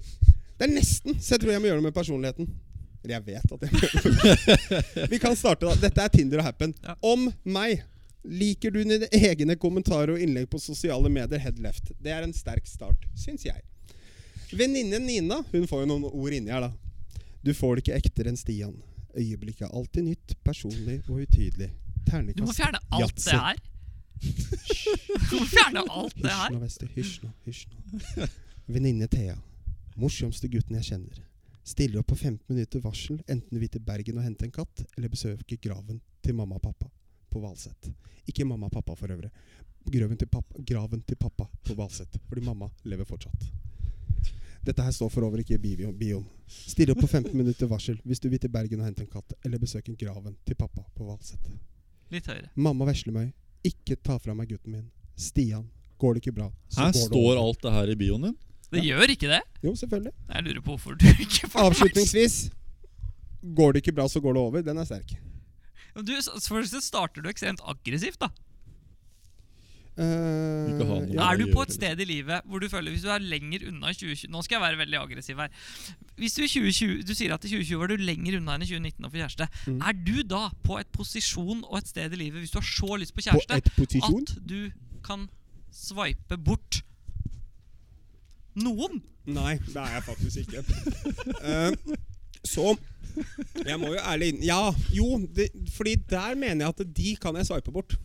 [SPEAKER 4] Det er nesten, så jeg tror jeg må gjøre noe med personligheten. Eller jeg vet at jeg må gjøre noe. Vi kan starte, da. Dette er Tinder og Happen.
[SPEAKER 1] Ja.
[SPEAKER 4] Om meg. Liker du dine egne kommentarer og innlegg på sosiale medier, head left. Det er en sterk start, syns jeg. Venninnen Nina Hun får jo noen ord inni her, da. Du får det ikke ektere enn Stian. Øyeblikket er alltid nytt, personlig og utydelig. Terningkast
[SPEAKER 1] Du må fjerne alt
[SPEAKER 4] Yatzy.
[SPEAKER 1] det her. Du må fjerne alt det
[SPEAKER 4] Hysj
[SPEAKER 1] her.
[SPEAKER 4] nå, Wester. Hysj nå. Hysj nå. Venninne Thea. Morsomste gutten jeg kjenner. Stiller opp på 15 minutter varsel, enten vi til Bergen og henter en katt, eller besøker graven til mamma og pappa på Valset. Ikke mamma og pappa for øvrig. Graven til pappa, graven til pappa på Valset, fordi mamma lever fortsatt. Dette her står for over ikke i bivio- bioen. Still opp på 15 minutter varsel hvis du vil til Bergen og hente en katt, eller besøke graven til pappa på Valset.
[SPEAKER 1] Litt høyere.
[SPEAKER 4] Mamma veslemøy, ikke ta fra meg gutten min. Stian, går det ikke bra,
[SPEAKER 3] Her
[SPEAKER 4] går det
[SPEAKER 3] står
[SPEAKER 4] over.
[SPEAKER 3] alt det her i bioen din.
[SPEAKER 1] Det gjør ikke det.
[SPEAKER 4] Jo, selvfølgelig.
[SPEAKER 1] Jeg lurer på hvorfor du ikke får
[SPEAKER 4] Avslutningsvis. Går det ikke bra, så går det over. Den er sterk.
[SPEAKER 1] Du, så- så Først så starter du ekstremt aggressivt, da.
[SPEAKER 4] Eh,
[SPEAKER 3] Ikke ha noe.
[SPEAKER 4] ja.
[SPEAKER 1] Er
[SPEAKER 3] det
[SPEAKER 1] du
[SPEAKER 3] gjør
[SPEAKER 1] på et
[SPEAKER 3] det.
[SPEAKER 1] sted i livet hvor du føler Hvis du er lenger unna i 2020 Nå skal jeg være veldig aggressiv her. Hvis du i 2020 Du sier at i 2020 var du lenger unna enn i 2019 å få kjæreste.
[SPEAKER 4] Mm.
[SPEAKER 1] Er du da på et posisjon og et sted i livet, hvis du har så lyst på
[SPEAKER 4] På
[SPEAKER 1] kjæreste,
[SPEAKER 4] et posisjon.
[SPEAKER 1] at du kan sveipe bort noen?
[SPEAKER 4] Nei, det er jeg faktisk ikke. Eh, så Jeg må jo ærlig inn Ja, jo, det, fordi der mener jeg at de kan jeg sveipe bort.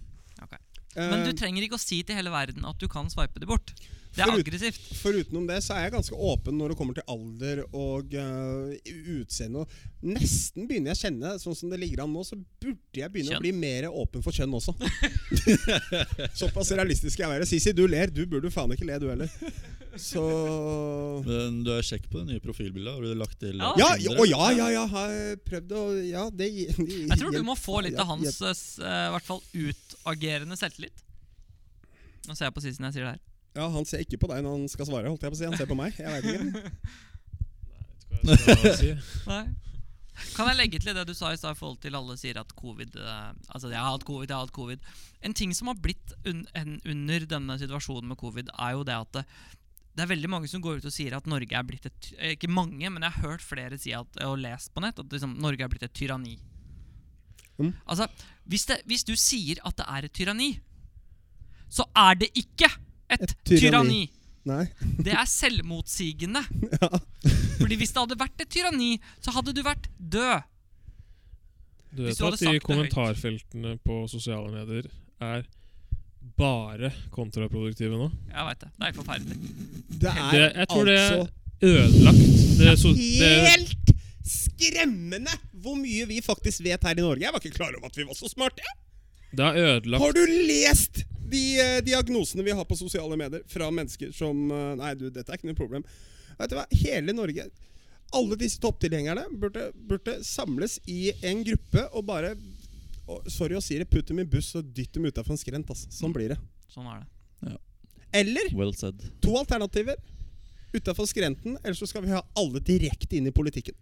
[SPEAKER 1] Ok.
[SPEAKER 4] Eh,
[SPEAKER 1] Men du trenger ikke å si til hele verden at du kan sveipe det bort. Det er
[SPEAKER 4] Forut-
[SPEAKER 1] aggressivt.
[SPEAKER 4] Forutenom det så er jeg ganske åpen når det kommer til alder og eh, utseende. Og nesten begynner jeg å kjenne, sånn som det ligger an nå, så burde jeg begynne
[SPEAKER 1] Kjønn.
[SPEAKER 4] å bli mer åpen for kjønn også. Såpass realistisk skal jeg være. Sisi, du ler. Du burde faen ikke le, du heller. Så
[SPEAKER 3] Men du er kjekk på det nye profilbildet. Har du lagt til
[SPEAKER 1] Ja.
[SPEAKER 4] Ja,
[SPEAKER 3] Tinder?
[SPEAKER 4] og ja, ja, ja, har prøvd å Ja, det
[SPEAKER 1] Jeg tror du må få litt av
[SPEAKER 4] Ja,
[SPEAKER 1] hans eh, s- eh, i hvert fall utagerende selvtillit. Nå ser jeg på siden jeg sier det her.
[SPEAKER 4] Ja, han ser ikke på deg når han skal svare, holdt jeg på å si. Han ser på meg. Jeg vet ikke.
[SPEAKER 2] Hva skal jeg si?
[SPEAKER 1] Nei. Kan jeg legge til det du sa i stad i forhold til alle sier at covid eh, Altså, jeg har hatt covid, jeg har hatt covid. En ting som har blitt un en under denne situasjonen med covid, er jo det at det, det er veldig mange som går ut og sier at Norge er blitt et eh, Ikke mange, men jeg har hørt flere si at, og lest på nett at liksom, Norge er blitt et tyranni.
[SPEAKER 4] Mm.
[SPEAKER 1] Altså, hvis, det, hvis du sier at det er et tyranni, så er det ikke et,
[SPEAKER 4] Et
[SPEAKER 1] tyranni.
[SPEAKER 4] tyranni. Nei.
[SPEAKER 1] Det er selvmotsigende. Fordi hvis det hadde vært et tyranni, så hadde du vært død.
[SPEAKER 2] Du
[SPEAKER 1] Hvis
[SPEAKER 2] vet
[SPEAKER 1] du hadde
[SPEAKER 2] at de
[SPEAKER 1] sagt det høyt.
[SPEAKER 2] kommentarfeltene på sosiale medier er bare kontraproduktive nå?
[SPEAKER 1] Jeg veit det. Det er helt forferdelig.
[SPEAKER 4] Det er
[SPEAKER 2] Det, jeg tror det
[SPEAKER 4] altså
[SPEAKER 2] er ødelagt. Det, so, det,
[SPEAKER 4] helt skremmende hvor mye vi faktisk vet her i Norge. Jeg var ikke klar over at vi var så smarte.
[SPEAKER 2] det har ødelagt
[SPEAKER 4] Har du lest de eh, diagnosene vi har på sosiale medier fra mennesker som eh, Nei, du, dette er ikke noe problem. Vet du hva? Hele Norge Alle disse topptilhengerne burde, burde samles i en gruppe og bare og, Sorry å si det, putt dem i buss og dytt dem utafor en skrent. ass. Sånn blir det.
[SPEAKER 1] Sånn er det.
[SPEAKER 4] Eller
[SPEAKER 3] Well said.
[SPEAKER 4] to alternativer. Utafor skrenten, eller så skal vi ha alle direkte inn i politikken.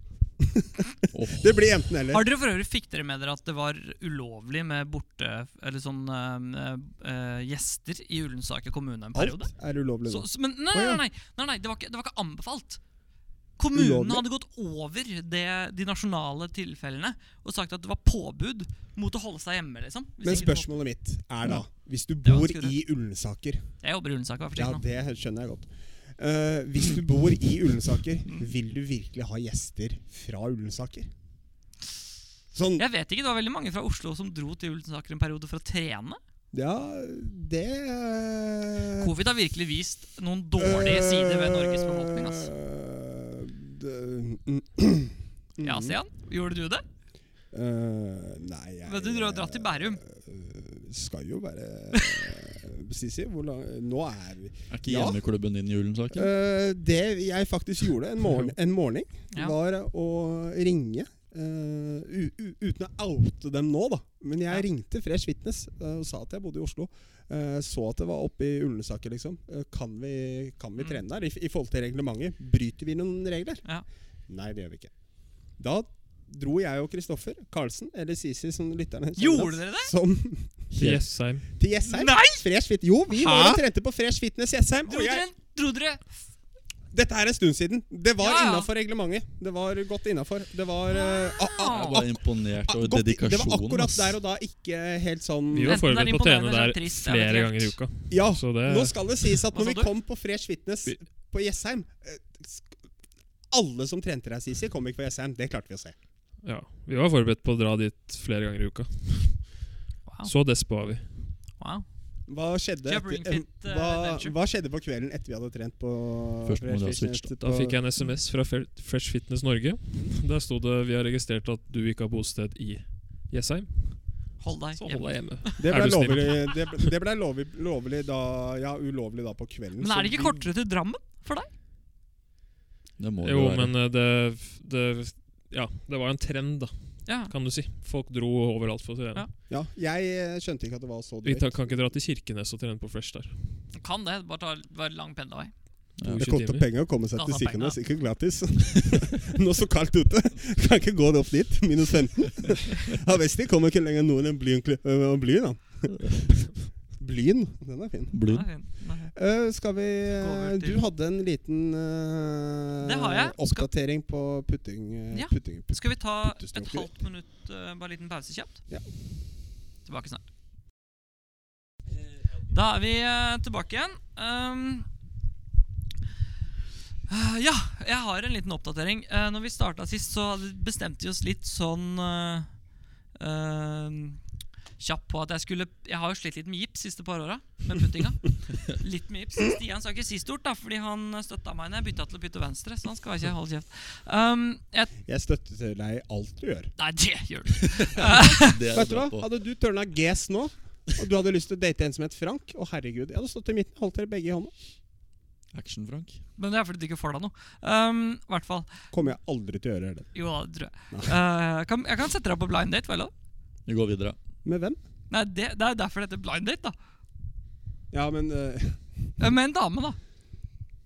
[SPEAKER 3] Åh,
[SPEAKER 4] Det blir enten eller.
[SPEAKER 1] Har dere for øvrig fikk dere med dere at det var ulovlig med borte Eller sånn eh, eh, gjester i Ullensaker kommune en periode?
[SPEAKER 4] Alt er ulovlig nå.
[SPEAKER 1] Så, så, men nei, nei,
[SPEAKER 4] Å, ja.
[SPEAKER 1] nei, nei, nei det, var ikke, det var ikke anbefalt. Kommunen
[SPEAKER 4] Ulovlig?
[SPEAKER 1] hadde gått over det, de nasjonale tilfellene og sagt at det var påbud mot å holde seg hjemme. liksom. Hvis
[SPEAKER 4] Men
[SPEAKER 1] ikke du-
[SPEAKER 4] spørsmålet mitt er da Hvis du
[SPEAKER 1] var
[SPEAKER 4] bor
[SPEAKER 1] skummelt.
[SPEAKER 4] i Ullensaker
[SPEAKER 1] Jeg jobber i Ullensaker. vær
[SPEAKER 4] Ja,
[SPEAKER 1] forsiktig nå.
[SPEAKER 4] det skjønner jeg godt. Eh, hvis du bor i Ullensaker,
[SPEAKER 1] Mm.
[SPEAKER 4] vil du virkelig ha gjester fra Ullensaker? Sånn
[SPEAKER 1] Jeg vet ikke, Det var veldig mange fra Oslo som dro til Ullensaker en periode for å trene.
[SPEAKER 4] Ja, det eh,
[SPEAKER 1] Covid har virkelig vist noen dårlige
[SPEAKER 4] Øh,
[SPEAKER 1] sider ved Norges befolkning. ass.
[SPEAKER 4] Eh, det- mm,
[SPEAKER 1] Ja, Stian, gjorde du det?
[SPEAKER 4] Eh, nei, jeg
[SPEAKER 1] Men du drar- drar til Bærum.
[SPEAKER 4] eh, Skal jo være Sisi, hvor lang Nå er vi
[SPEAKER 3] er ikke
[SPEAKER 4] Ja.
[SPEAKER 3] hjemmeklubben din i Ullensaker?
[SPEAKER 4] Eh, det jeg faktisk gjorde en morgen, en morgen
[SPEAKER 1] Ja.
[SPEAKER 4] var å ringe eh, u u Uten å oute dem nå, da. Men jeg
[SPEAKER 1] Ja.
[SPEAKER 4] ringte Fresh Fitness eh, og sa at jeg bodde i Oslo. Eh, så at det var oppe i Ullensaker, liksom. Eh, kan vi, kan vi
[SPEAKER 1] Mm.
[SPEAKER 4] trene der? I, I forhold til reglementet. Bryter vi noen regler?
[SPEAKER 1] Ja.
[SPEAKER 4] Nei, det gjør vi ikke. Da dro jeg og Kristoffer Karlsen, eller Sisi som lytterne kjenner
[SPEAKER 1] Gjorde
[SPEAKER 4] oss,
[SPEAKER 1] dere det?
[SPEAKER 4] Som,
[SPEAKER 2] Jessheim.
[SPEAKER 4] til Jessheim.
[SPEAKER 1] Nei!
[SPEAKER 4] Fresh Fit. Jo, vi
[SPEAKER 1] Hæ?
[SPEAKER 4] var og trente på Fresh Fitness Jessheim. og
[SPEAKER 1] Dro
[SPEAKER 4] jeg-
[SPEAKER 1] dere, dro dere
[SPEAKER 4] dette er en stund siden. Det var
[SPEAKER 1] Ja, ja.
[SPEAKER 4] innafor reglementet. Det var godt innafor. Det var eh, a- a-
[SPEAKER 1] Ah.
[SPEAKER 3] Jeg
[SPEAKER 1] ak-
[SPEAKER 3] var imponert
[SPEAKER 4] a-
[SPEAKER 3] over
[SPEAKER 4] godt i-
[SPEAKER 3] dedikasjonen.
[SPEAKER 4] Det var akkurat
[SPEAKER 3] ass.
[SPEAKER 4] der og da ikke helt sånn
[SPEAKER 2] Vi
[SPEAKER 1] Enten
[SPEAKER 2] var
[SPEAKER 1] er
[SPEAKER 2] forberedt på å
[SPEAKER 1] imponerende
[SPEAKER 2] trene
[SPEAKER 1] eller
[SPEAKER 2] der
[SPEAKER 1] trist, jeg vet
[SPEAKER 2] flere
[SPEAKER 1] ikke
[SPEAKER 2] ganger i
[SPEAKER 1] helt.
[SPEAKER 2] uka.
[SPEAKER 4] Ja,
[SPEAKER 2] Så det
[SPEAKER 4] nå skal det sies at
[SPEAKER 1] eh, Hva sa
[SPEAKER 4] når vi
[SPEAKER 1] du?
[SPEAKER 4] kom på Fresh Fitness
[SPEAKER 2] Vi-
[SPEAKER 4] på Jessheim eh, sk- Alle som trente deg, Sisi, kom ikke på Jessheim. Det klarte vi å se.
[SPEAKER 2] Ja, Vi var forberedt på å dra dit flere ganger i uka.
[SPEAKER 1] Wow.
[SPEAKER 2] Så despe var vi.
[SPEAKER 1] wow.
[SPEAKER 4] Hva skjedde,
[SPEAKER 1] Jabber
[SPEAKER 4] etter, eh,
[SPEAKER 1] Fit, eh,
[SPEAKER 4] hva,
[SPEAKER 1] Adventure.
[SPEAKER 4] hva skjedde på kvelden etter vi hadde trent på
[SPEAKER 3] Først må
[SPEAKER 4] Fresh
[SPEAKER 3] du ha
[SPEAKER 4] Fitness
[SPEAKER 3] switchet.
[SPEAKER 2] Da
[SPEAKER 4] på-
[SPEAKER 2] fikk jeg en SMS fra Fe- Fresh Fitness Norge. Der sto det 'Vi har registrert at du ikke har bosted i Jessheim'.
[SPEAKER 1] Hold deg
[SPEAKER 2] Så hold
[SPEAKER 1] hjemme.
[SPEAKER 2] deg hjemme. Er
[SPEAKER 4] Det ble,
[SPEAKER 2] du snill?
[SPEAKER 4] lovlig, det ble, det ble lovlig, lovlig da Ja, ulovlig da på kvelden.
[SPEAKER 1] Men er det
[SPEAKER 4] så
[SPEAKER 1] ikke
[SPEAKER 4] vi-
[SPEAKER 1] kortere til Drammen for deg?
[SPEAKER 3] Det må det
[SPEAKER 2] Jo,
[SPEAKER 3] være.
[SPEAKER 2] men eh, det, det Ja, det var en trend, da,
[SPEAKER 1] Ja.
[SPEAKER 2] kan du si. Folk dro overalt for å trene.
[SPEAKER 1] Ja.
[SPEAKER 4] Ja, jeg eh, skjønte ikke at det var så
[SPEAKER 2] Vi
[SPEAKER 4] drøyt.
[SPEAKER 2] ta, kan ikke dra til Kirkenes og trene på Fresh der.
[SPEAKER 1] Kan det. Bare ta bare lang pendlevei.
[SPEAKER 3] Ja.
[SPEAKER 4] Det
[SPEAKER 2] 20
[SPEAKER 4] koster
[SPEAKER 2] timer.
[SPEAKER 4] penger å komme seg
[SPEAKER 1] Da
[SPEAKER 4] til
[SPEAKER 1] tar
[SPEAKER 4] Kirkenes, ikke gratis. Nå så kaldt ute. Kan ikke gå opp dit. Minus 15. Ja, Vesti kommer ikke lenger nord enn Blyn. kli- øh, Blyn, da. Blyn, den er fin.
[SPEAKER 3] Blod.
[SPEAKER 1] Nei, nei.
[SPEAKER 4] Eh, skal vi
[SPEAKER 1] Gå over til-
[SPEAKER 4] Du hadde en liten eh,
[SPEAKER 1] Det har jeg. Skal-
[SPEAKER 4] oppdatering på putting. eh,
[SPEAKER 1] Ja.
[SPEAKER 4] putting, putting.
[SPEAKER 1] Skal vi ta et
[SPEAKER 4] Puttestunker.
[SPEAKER 1] halvt minutt, eh, bare en liten pause kjapt?
[SPEAKER 4] Ja.
[SPEAKER 1] Tilbake snart. Da er vi eh, tilbake igjen. Um, eh, ja, jeg har en liten oppdatering. Uh, når vi starta sist, så hadde- bestemte vi oss litt sånn eh, eh, kjapp på at jeg skulle Jeg har jo slitt litt med gips siste par åra. Med puttinga. Litt med gips. Stian skal ikke si stort, da, fordi han støtta meg når jeg bytta til å bytte venstre. Så han skal ikke holde kjeft. Um, jeg,
[SPEAKER 4] Jeg støtter til deg i alt du gjør.
[SPEAKER 1] nei, det gjør du.
[SPEAKER 3] Det er
[SPEAKER 4] Vet du
[SPEAKER 3] bra
[SPEAKER 4] hva?
[SPEAKER 3] på.
[SPEAKER 4] Hadde du turna GS nå, og du hadde lyst til å date en som het Frank Å, herregud. Jeg hadde stått i midten, holdt dere begge i hånda.
[SPEAKER 3] Action-Frank.
[SPEAKER 1] Men det er fordi du ikke får deg noe. Um, I hvert fall.
[SPEAKER 4] Kommer jeg aldri til å gjøre heller.
[SPEAKER 1] Jo da, det tror jeg. Eh, kan, jeg kan sette deg på blind date, får jeg lov?
[SPEAKER 3] Vi går videre.
[SPEAKER 4] Med hvem?
[SPEAKER 1] Nei, det, det er jo derfor det heter blind date, da.
[SPEAKER 4] Ja, men eh,
[SPEAKER 1] Eh, Med en dame, da.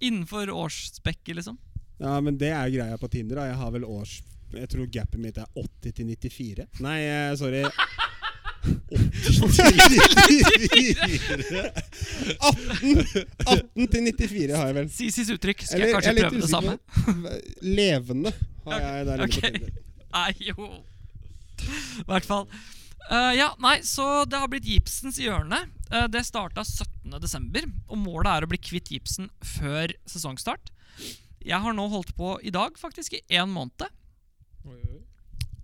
[SPEAKER 1] Innenfor årsspekket, liksom.
[SPEAKER 4] Ja, men det er jo greia på Tinder. da Jeg har vel års Jeg tror gapet mitt er 80 til 94. Nei, eh, sorry.
[SPEAKER 3] 94.
[SPEAKER 4] 18 til 94 har jeg vel.
[SPEAKER 1] Sisis uttrykk. Skal jeg
[SPEAKER 4] Eller,
[SPEAKER 1] kanskje
[SPEAKER 4] jeg er
[SPEAKER 1] prøve det samme?
[SPEAKER 4] litt usikker. Levende har jeg der inne
[SPEAKER 1] Ok.
[SPEAKER 4] på Tinder.
[SPEAKER 1] Nei, jo. I hvert fall. Eh, ja, nei, så det har blitt gipsens hjørne. Eh, det starta 17.12., og målet er å bli kvitt gipsen før sesongstart. Jeg har nå holdt på i dag, faktisk, i én måned.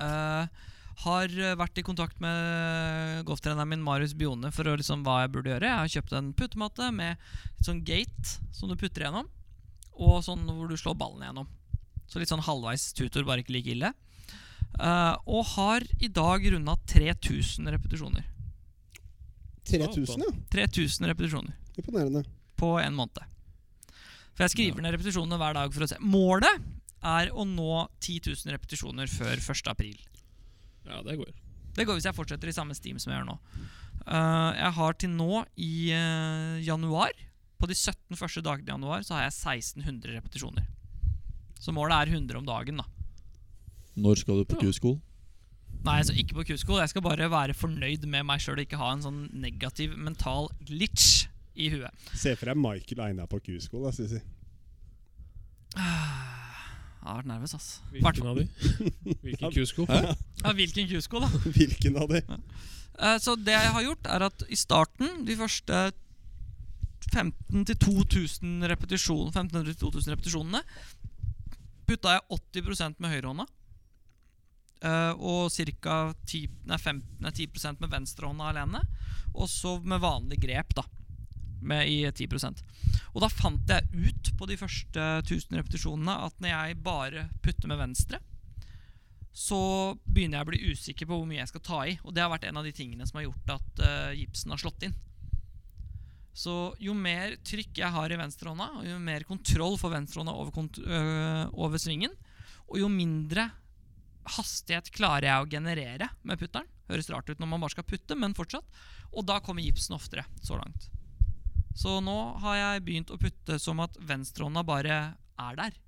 [SPEAKER 1] Eh, har eh, vært i kontakt med golftreneren min Marius Bione for å, liksom, hva jeg burde gjøre. Jeg har kjøpt en puttematte med et sånn gate som du putter gjennom, og sånn hvor du slår ballen gjennom. Så litt sånn halvveis tutor, bare ikke like ille. Eh, og har i dag runda 3000 repetisjoner.
[SPEAKER 4] 3000, ja.
[SPEAKER 1] 3000 repetisjoner
[SPEAKER 4] Imponerende.
[SPEAKER 1] på en måned. For jeg skriver ned repetisjonene hver dag for å se. Målet er å nå 10 000 repetisjoner før 1. april.
[SPEAKER 2] Ja, det går.
[SPEAKER 1] Det går hvis jeg fortsetter i samme steam som jeg gjør nå. Eh, jeg har til nå i eh, januar, på de 17 første dagene i januar, så har jeg 1600 repetisjoner. Så målet er 100 om dagen, da.
[SPEAKER 3] Når skal du på Q-school?
[SPEAKER 1] Nei, altså ikke på kusko. Jeg skal bare være fornøyd med meg sjøl og ikke ha en sånn negativ mental glitch i huet.
[SPEAKER 4] Se for deg Michael Einar på Q-skole, da, Susi.
[SPEAKER 1] Jeg har vært nervøs, ass. Hvert-
[SPEAKER 2] Hvilken av de? Hvilken kusko?
[SPEAKER 1] Ja, hvilken kusko, da?
[SPEAKER 4] Hvilken av de?
[SPEAKER 1] Eh, Så det jeg har gjort, er at i starten, de første 15-2000 repetisjon, 1500-2000 repetisjonene, putta jeg 80 med høyrehånda. eh, og ca. 10, nei, 15 nei, 10 med venstrehånda alene. Og så med vanlig grep, da. Med i 10 Og da fant jeg ut på de første 1000 repetisjonene at når jeg bare putter med venstre, så begynner jeg å bli usikker på hvor mye jeg skal ta i. Og det har vært en av de tingene som har gjort at eh, gipsen har slått inn. Så jo mer trykk jeg har i venstrehånda, og jo mer kontroll får venstrehånda over, kont øh, over svingen, og jo mindre hastighet klarer jeg å generere med putteren. Høres rart ut når man bare skal putte, men fortsatt. Og da kommer gipsen oftere, så langt. Så nå har jeg begynt å putte som at venstrehånda bare er der.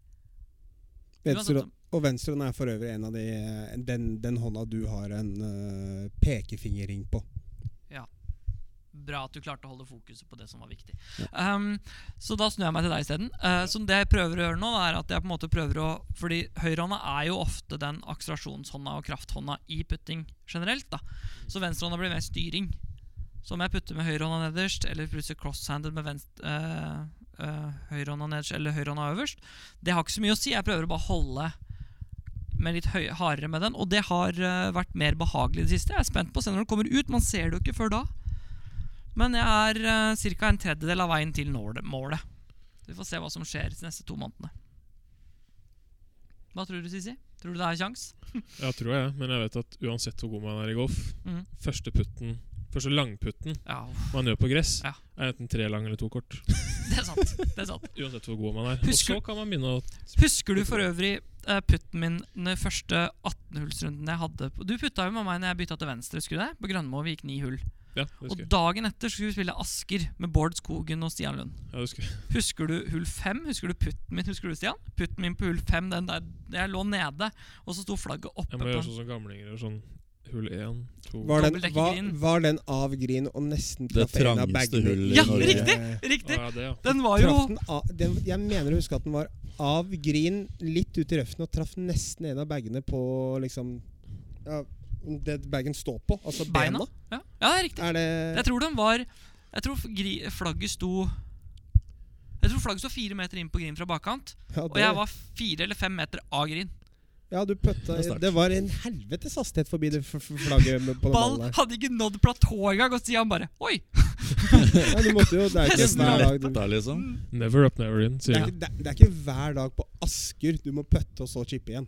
[SPEAKER 4] Venstre, og venstrehånda er for øvrig en av de eh, Den, den hånda du har en eh, pekefingerring på.
[SPEAKER 1] Bra at du klarte å holde fokuset på det som var viktig. Um, så da snur jeg meg til deg isteden. Uh, så det jeg prøver å gjøre nå, er at jeg på en måte prøver å Fordi høyrehånda er jo ofte den akselerasjonshånda og krafthånda i putting generelt. da Så venstrehånda blir mer styring. Så om jeg putter med høyrehånda nederst, eller plutselig crosshanded med venst, eh, eh, høyrehånda nederst eller høyrehånda øverst, det har ikke så mye å si. Jeg prøver å bare holde med litt høy, hardere med den, og det har eh, vært mer behagelig i det siste. Jeg er spent på å se når den kommer ut. Man ser det jo ikke før da. Men jeg er uh, ca. en tredjedel av veien til nål- målet. Vi får se hva som skjer de neste to månedene. Hva tror du, Sisi? Tror du det er kjangs?
[SPEAKER 2] Jeg tror jeg, men jeg vet at uansett hvor god man er i golf
[SPEAKER 1] Mhm.
[SPEAKER 2] Første putten, første langputten
[SPEAKER 1] Ja,
[SPEAKER 2] man gjør på gress,
[SPEAKER 1] Ja.
[SPEAKER 2] er enten tre lang eller to kort.
[SPEAKER 1] det er sant. Det er sant.
[SPEAKER 2] Uansett hvor god man er.
[SPEAKER 1] Husker-
[SPEAKER 2] Og så kan man begynne å
[SPEAKER 1] Husker du for øvrig eh, putten min den første 18-hullsrunden jeg hadde? på- Du putta jo med meg når jeg bytta til venstre, husker du det? På Grønmo, vi gikk ni hull.
[SPEAKER 2] Ja, det husker
[SPEAKER 1] Og
[SPEAKER 2] jeg.
[SPEAKER 1] dagen etter skulle vi spille Asker med Bård Skogen og Stian Lund.
[SPEAKER 2] Ja, det husker jeg.
[SPEAKER 1] Husker du hull fem? Husker du putten min, husker du Stian? Putten min på hull fem, den der jeg lå nede, og så sto flagget oppe
[SPEAKER 2] jeg må
[SPEAKER 1] på
[SPEAKER 2] gjøre sånn som gamlinger gjør sånn hull én, to
[SPEAKER 4] Var den, var,
[SPEAKER 1] Dobbeltdekkergrin.
[SPEAKER 4] var den av grin og nesten
[SPEAKER 3] Det
[SPEAKER 4] traff en av
[SPEAKER 3] trangeste
[SPEAKER 4] bagene?
[SPEAKER 3] hullet
[SPEAKER 1] i Ja, Norge. riktig! Riktig!
[SPEAKER 2] ah, ja, det, ja.
[SPEAKER 1] Den var jo
[SPEAKER 4] Traff den av, den, jeg mener å huske at den var av grin, litt ut i røffen, og traff nesten en av bagene på liksom ja, Det bagen står på, altså
[SPEAKER 1] Beina?
[SPEAKER 4] bena.
[SPEAKER 1] Ja, ja det er riktig.
[SPEAKER 4] Er det
[SPEAKER 1] Jeg tror den var Jeg tror gri, flagget sto Jeg tror flagget sto fire meter inn på green fra bakkant.
[SPEAKER 4] ja,
[SPEAKER 1] Og jeg var fire eller fem meter av green.
[SPEAKER 4] Ja, du pøtta
[SPEAKER 3] Det er sterkt.
[SPEAKER 4] Det var en helvetes hastighet forbi det f f flagget med- på den
[SPEAKER 1] Ball
[SPEAKER 4] ballen der.
[SPEAKER 1] hadde ikke nådd platået engang, og Stian bare Oi!
[SPEAKER 4] Ja, du måtte jo, det er jo ikke
[SPEAKER 1] Nesten
[SPEAKER 4] hver dag du,
[SPEAKER 3] Lett der, liksom.
[SPEAKER 2] Never up, never in,
[SPEAKER 4] det,
[SPEAKER 2] sier
[SPEAKER 4] er
[SPEAKER 2] jeg.
[SPEAKER 4] ikke, det, er- det er ikke hver dag på Asker du må pøtte og så chippe igjen.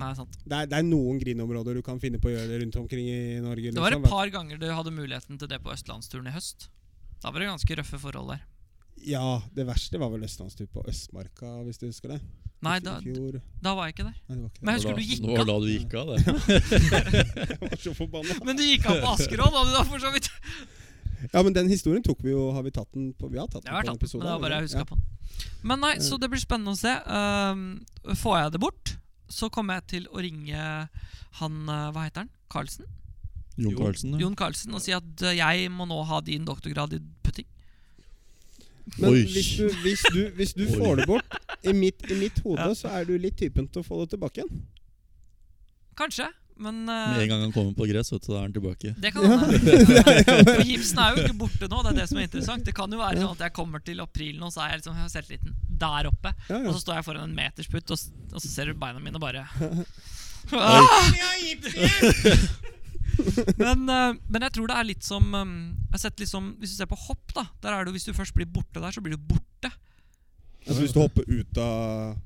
[SPEAKER 1] Nei, sant.
[SPEAKER 4] Det er, det er noen grinområder du kan finne på å gjøre det rundt omkring i Norge.
[SPEAKER 1] Det var
[SPEAKER 4] liksom.
[SPEAKER 1] et par ganger du hadde muligheten til det på østlandsturen i høst. Da var det ganske røffe forhold der.
[SPEAKER 4] Ja, det verste var vel Østlandstur på Østmarka, hvis du husker det.
[SPEAKER 1] Nei,
[SPEAKER 4] I
[SPEAKER 1] da,
[SPEAKER 4] fjor.
[SPEAKER 1] da var jeg ikke der.
[SPEAKER 4] Nei, det var ikke det.
[SPEAKER 1] Men jeg husker
[SPEAKER 3] Det var da-
[SPEAKER 1] du gikk av.
[SPEAKER 3] det var da du gikk av, det.
[SPEAKER 4] Jeg var så forbanna.
[SPEAKER 1] Men du gikk av på Askerodd, hadde du da for så vidt.
[SPEAKER 4] Ja, men den historien tok vi jo Har vi tatt den på Vi har tatt
[SPEAKER 1] Jeg
[SPEAKER 4] den
[SPEAKER 1] har vært tatt,
[SPEAKER 4] på en
[SPEAKER 1] men
[SPEAKER 4] episode.
[SPEAKER 1] det var
[SPEAKER 4] har vi
[SPEAKER 1] bare jeg
[SPEAKER 4] det?
[SPEAKER 1] huska på den. Men nei, så det blir spennende å se. Ehm, får jeg det bort, så kommer jeg til å ringe han eh, Hva heter han? Carlsen?
[SPEAKER 3] Jon
[SPEAKER 2] Jo.
[SPEAKER 3] Carlsen, ja.
[SPEAKER 1] Jon Carlsen og si at eh, jeg må nå ha din doktorgrad i putting.
[SPEAKER 4] Men
[SPEAKER 3] Oi.
[SPEAKER 4] hvis du, hvis du, hvis du
[SPEAKER 3] Oi.
[SPEAKER 4] får det bort, i mitt, i mitt hode,
[SPEAKER 1] Ja.
[SPEAKER 4] så er du litt typen til å få det tilbake igjen.
[SPEAKER 1] Kanskje, men eh,
[SPEAKER 3] Med en gang han kommer på gress, vet du, da er han tilbake.
[SPEAKER 1] det kan hende. For gipsen er jo ikke borte nå, det er det som er interessant. Det kan jo være sånn at jeg kommer til april nå, så er jeg liksom jeg har selvtilliten der oppe.
[SPEAKER 4] Ja,
[SPEAKER 1] Og
[SPEAKER 4] ja.
[SPEAKER 1] så står jeg foran en metersputt, og, s- og så ser du beina mine bare men, eh, men jeg tror det er litt som eh, jeg har sett litt som, Hvis du ser på hopp, da der er det, jo- Hvis du først blir borte der, så blir du borte.
[SPEAKER 4] Altså Hvis du hopper ut av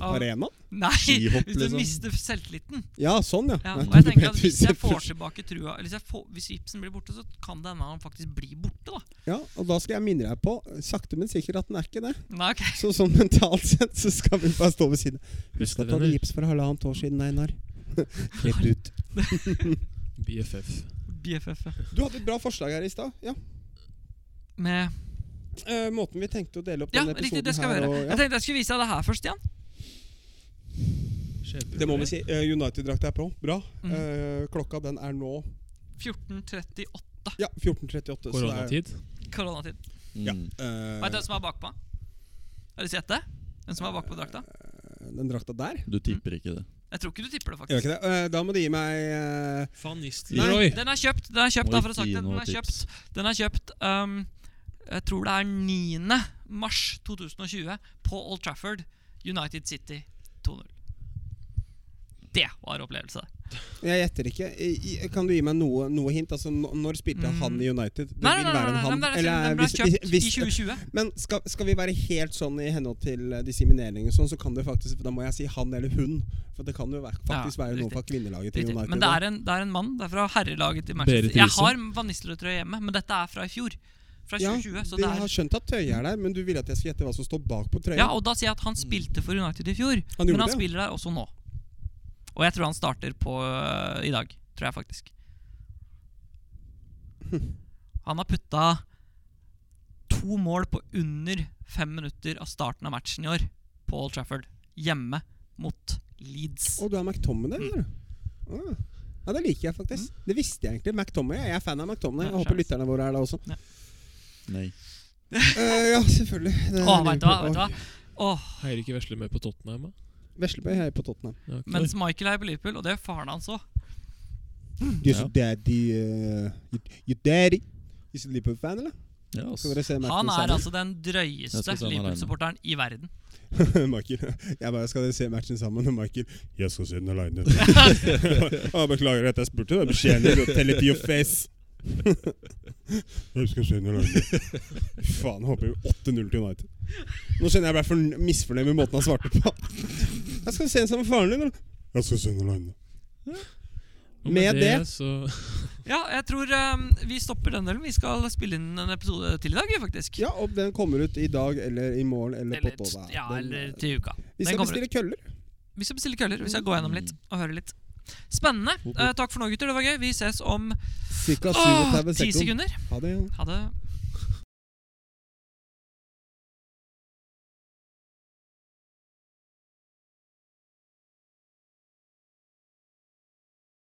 [SPEAKER 1] av-
[SPEAKER 4] arenaen?
[SPEAKER 1] nei,
[SPEAKER 3] Skihopp,
[SPEAKER 1] hvis du
[SPEAKER 3] liksom.
[SPEAKER 1] mister selvtilliten.
[SPEAKER 4] Ja, sånn, ja.
[SPEAKER 1] Ja,
[SPEAKER 4] Nei,
[SPEAKER 1] og jeg
[SPEAKER 4] du
[SPEAKER 1] tenker at
[SPEAKER 4] vet
[SPEAKER 1] Hvis
[SPEAKER 4] du
[SPEAKER 1] jeg
[SPEAKER 4] ser
[SPEAKER 1] får
[SPEAKER 4] først.
[SPEAKER 1] tilbake trua Hvis, jeg får, hvis gipsen blir borte, så kan det hende han faktisk blir borte. da
[SPEAKER 4] Ja, Og da skal jeg minne deg på, sakte, men sikkert, at den er ikke det.
[SPEAKER 1] Nei, ok
[SPEAKER 4] Så sånn mentalt sett så skal vi bare stå ved siden.
[SPEAKER 2] Husk
[SPEAKER 4] Husk
[SPEAKER 2] det,
[SPEAKER 4] at du hadde
[SPEAKER 2] venner.
[SPEAKER 4] gips for halvannet år siden, Einar. Klipp det ut.
[SPEAKER 2] BFF.
[SPEAKER 1] BFF ja.
[SPEAKER 4] Du hadde et bra forslag her i stad. Ja.
[SPEAKER 1] Med
[SPEAKER 4] Eh, måten vi tenkte å dele opp
[SPEAKER 1] Ja,
[SPEAKER 4] denne episoden
[SPEAKER 1] riktig, det skal vi
[SPEAKER 4] her
[SPEAKER 1] gjøre.
[SPEAKER 4] og-
[SPEAKER 1] Jeg tenkte jeg skulle vise deg det her først, Jan.
[SPEAKER 4] ja. Det må vi si. Eh, United-drakta er på. Bra.
[SPEAKER 1] Mhm.
[SPEAKER 4] Eh, klokka den er nå
[SPEAKER 1] 14.38
[SPEAKER 4] Ja, 14.38. så det er-
[SPEAKER 2] Koronatid.
[SPEAKER 1] koronatid.
[SPEAKER 4] Ja.
[SPEAKER 3] Mm.
[SPEAKER 4] Eh,
[SPEAKER 1] Veit du hvem som er bakpå? Har du sett det? Hvem som er bakpå drakta?
[SPEAKER 4] eh, Den drakta der?
[SPEAKER 3] Du tipper ikke det.
[SPEAKER 1] Jeg tror ikke du tipper det,
[SPEAKER 4] Gjør
[SPEAKER 1] faktisk.
[SPEAKER 4] ikke det? Eh, da må du gi meg eh,
[SPEAKER 2] Van
[SPEAKER 1] Nei,
[SPEAKER 2] Nistelrooy.
[SPEAKER 1] den er kjøpt. Den er kjøpt,
[SPEAKER 3] Må
[SPEAKER 1] da, for å ha
[SPEAKER 3] ikke
[SPEAKER 1] sagt
[SPEAKER 3] gi
[SPEAKER 1] det. Den
[SPEAKER 3] noe
[SPEAKER 1] er kjøpt.
[SPEAKER 3] tips.
[SPEAKER 1] Den er kjøpt um, Jeg tror det er 9. mars 2020 på Old Trafford. United City 2-0. Det var opplevelse.
[SPEAKER 4] eh, Jeg gjetter ikke. I- i- Kan du gi meg noe, noe hint? Altså, nå- Når spilte
[SPEAKER 1] Mm.
[SPEAKER 4] han i United? Det
[SPEAKER 1] Nei, nei,
[SPEAKER 4] vil
[SPEAKER 1] nei,
[SPEAKER 4] være
[SPEAKER 1] nei,
[SPEAKER 4] en
[SPEAKER 1] nei,
[SPEAKER 4] han.
[SPEAKER 1] nei, den
[SPEAKER 4] Eller, eh,
[SPEAKER 1] er- den ble
[SPEAKER 4] hvis-
[SPEAKER 1] kjøpt i
[SPEAKER 4] hvis-
[SPEAKER 1] 2020.
[SPEAKER 4] Men skal, skal vi være helt sånn i henhold til eh, disseminering og sånn, så kan det faktisk Da må jeg si han eller hun. For det kan jo være, faktisk
[SPEAKER 1] Ja,
[SPEAKER 4] være noe
[SPEAKER 1] riktig.
[SPEAKER 4] fra kvinnelaget til
[SPEAKER 1] Riktig.
[SPEAKER 4] United.
[SPEAKER 1] Men det er, en, det er en mann. Det er fra herrelaget til
[SPEAKER 2] Berit
[SPEAKER 1] Manchester. Jeg
[SPEAKER 2] Riise.
[SPEAKER 1] har Van Nistelrooy-trøye hjemme, men dette er fra i fjor. Fra
[SPEAKER 4] ja,
[SPEAKER 1] 2020. så
[SPEAKER 4] de
[SPEAKER 1] altså, det
[SPEAKER 4] har
[SPEAKER 1] er
[SPEAKER 4] skjønt at Tøye er der, men du ville at jeg skulle gjette hva som står bak på trøya.
[SPEAKER 1] Ja, og da sier jeg at han spilte for United i fjor,
[SPEAKER 4] Han gjorde
[SPEAKER 1] men han
[SPEAKER 4] det, ja.
[SPEAKER 1] spiller der også nå. Og jeg tror han starter på øh, i dag. Tror jeg faktisk. Han har putta to mål på under fem minutter av starten av matchen i år på Old Trafford. Hjemme mot Leeds.
[SPEAKER 4] Og du har McTominay,
[SPEAKER 1] Mm.
[SPEAKER 4] eller? Ah. Ja, det liker jeg faktisk. Det visste jeg egentlig. McTominay, Jeg er fan av McTominay.
[SPEAKER 1] Ja,
[SPEAKER 4] Jeg håper
[SPEAKER 1] skjønner.
[SPEAKER 4] lytterne våre er det også.
[SPEAKER 3] Nei.
[SPEAKER 4] Eh, ja, selvfølgelig. Det
[SPEAKER 1] Åh,
[SPEAKER 4] er
[SPEAKER 1] vet du hva?
[SPEAKER 4] Liverpool.
[SPEAKER 1] Vet du hva? Åh,
[SPEAKER 2] Heier ikke vesle med på Tottenham, da?
[SPEAKER 4] Veslebøy heier på Tottenham.
[SPEAKER 2] Ja, ok.
[SPEAKER 1] mens Michael er på Liverpool, og det gjør faren hans òg.
[SPEAKER 4] Yes,
[SPEAKER 3] Ja.
[SPEAKER 4] daddy, uh, your daddy. Is he Liverpool-fan, eller?
[SPEAKER 3] Ja, ass.
[SPEAKER 4] Skal dere se
[SPEAKER 1] Han
[SPEAKER 4] matchen
[SPEAKER 1] er
[SPEAKER 4] sammen?
[SPEAKER 1] altså den
[SPEAKER 3] Jeg
[SPEAKER 1] drøyeste
[SPEAKER 3] skal se han
[SPEAKER 1] Liverpool-supporteren i verden.
[SPEAKER 4] Michael. Jeg bare skal dere se matchen sammen, og Michael Jeg skal se den aleine. beklager at jeg spurte, da. Beskjeden er å tell it to your face. jeg skal se den aleine. Faen, jeg håper jo 8-0 til United. Nå kjenner jeg jeg ble forn- misfornøyd med måten han svarte på. Jeg skal se den sammen med faren din, eller? Jeg skal se den aleine.
[SPEAKER 2] Og
[SPEAKER 4] Med det-
[SPEAKER 2] så
[SPEAKER 1] Ja, jeg tror um, vi stopper den delen. Vi skal spille inn en episode til i dag, vi, faktisk.
[SPEAKER 4] Ja, og den kommer ut i dag eller i morgen eller,
[SPEAKER 1] eller,
[SPEAKER 4] på torsdag.
[SPEAKER 1] ja,
[SPEAKER 4] Den- eh,
[SPEAKER 1] eller til uka.
[SPEAKER 4] Vi
[SPEAKER 1] den
[SPEAKER 4] skal
[SPEAKER 1] kommer
[SPEAKER 4] bestille køller.
[SPEAKER 1] Vi skal bestille køller. Vi skal gå gjennom litt og høre litt. Spennende.
[SPEAKER 4] Mm-hmm.
[SPEAKER 3] Hopp, hopp.
[SPEAKER 1] Eh, takk for nå, gutter. Det var gøy. Vi ses om
[SPEAKER 4] Cirka
[SPEAKER 1] åh,
[SPEAKER 4] 37
[SPEAKER 1] ti
[SPEAKER 4] sekunder.
[SPEAKER 1] sekunder.
[SPEAKER 4] Ha det.
[SPEAKER 1] Ha det.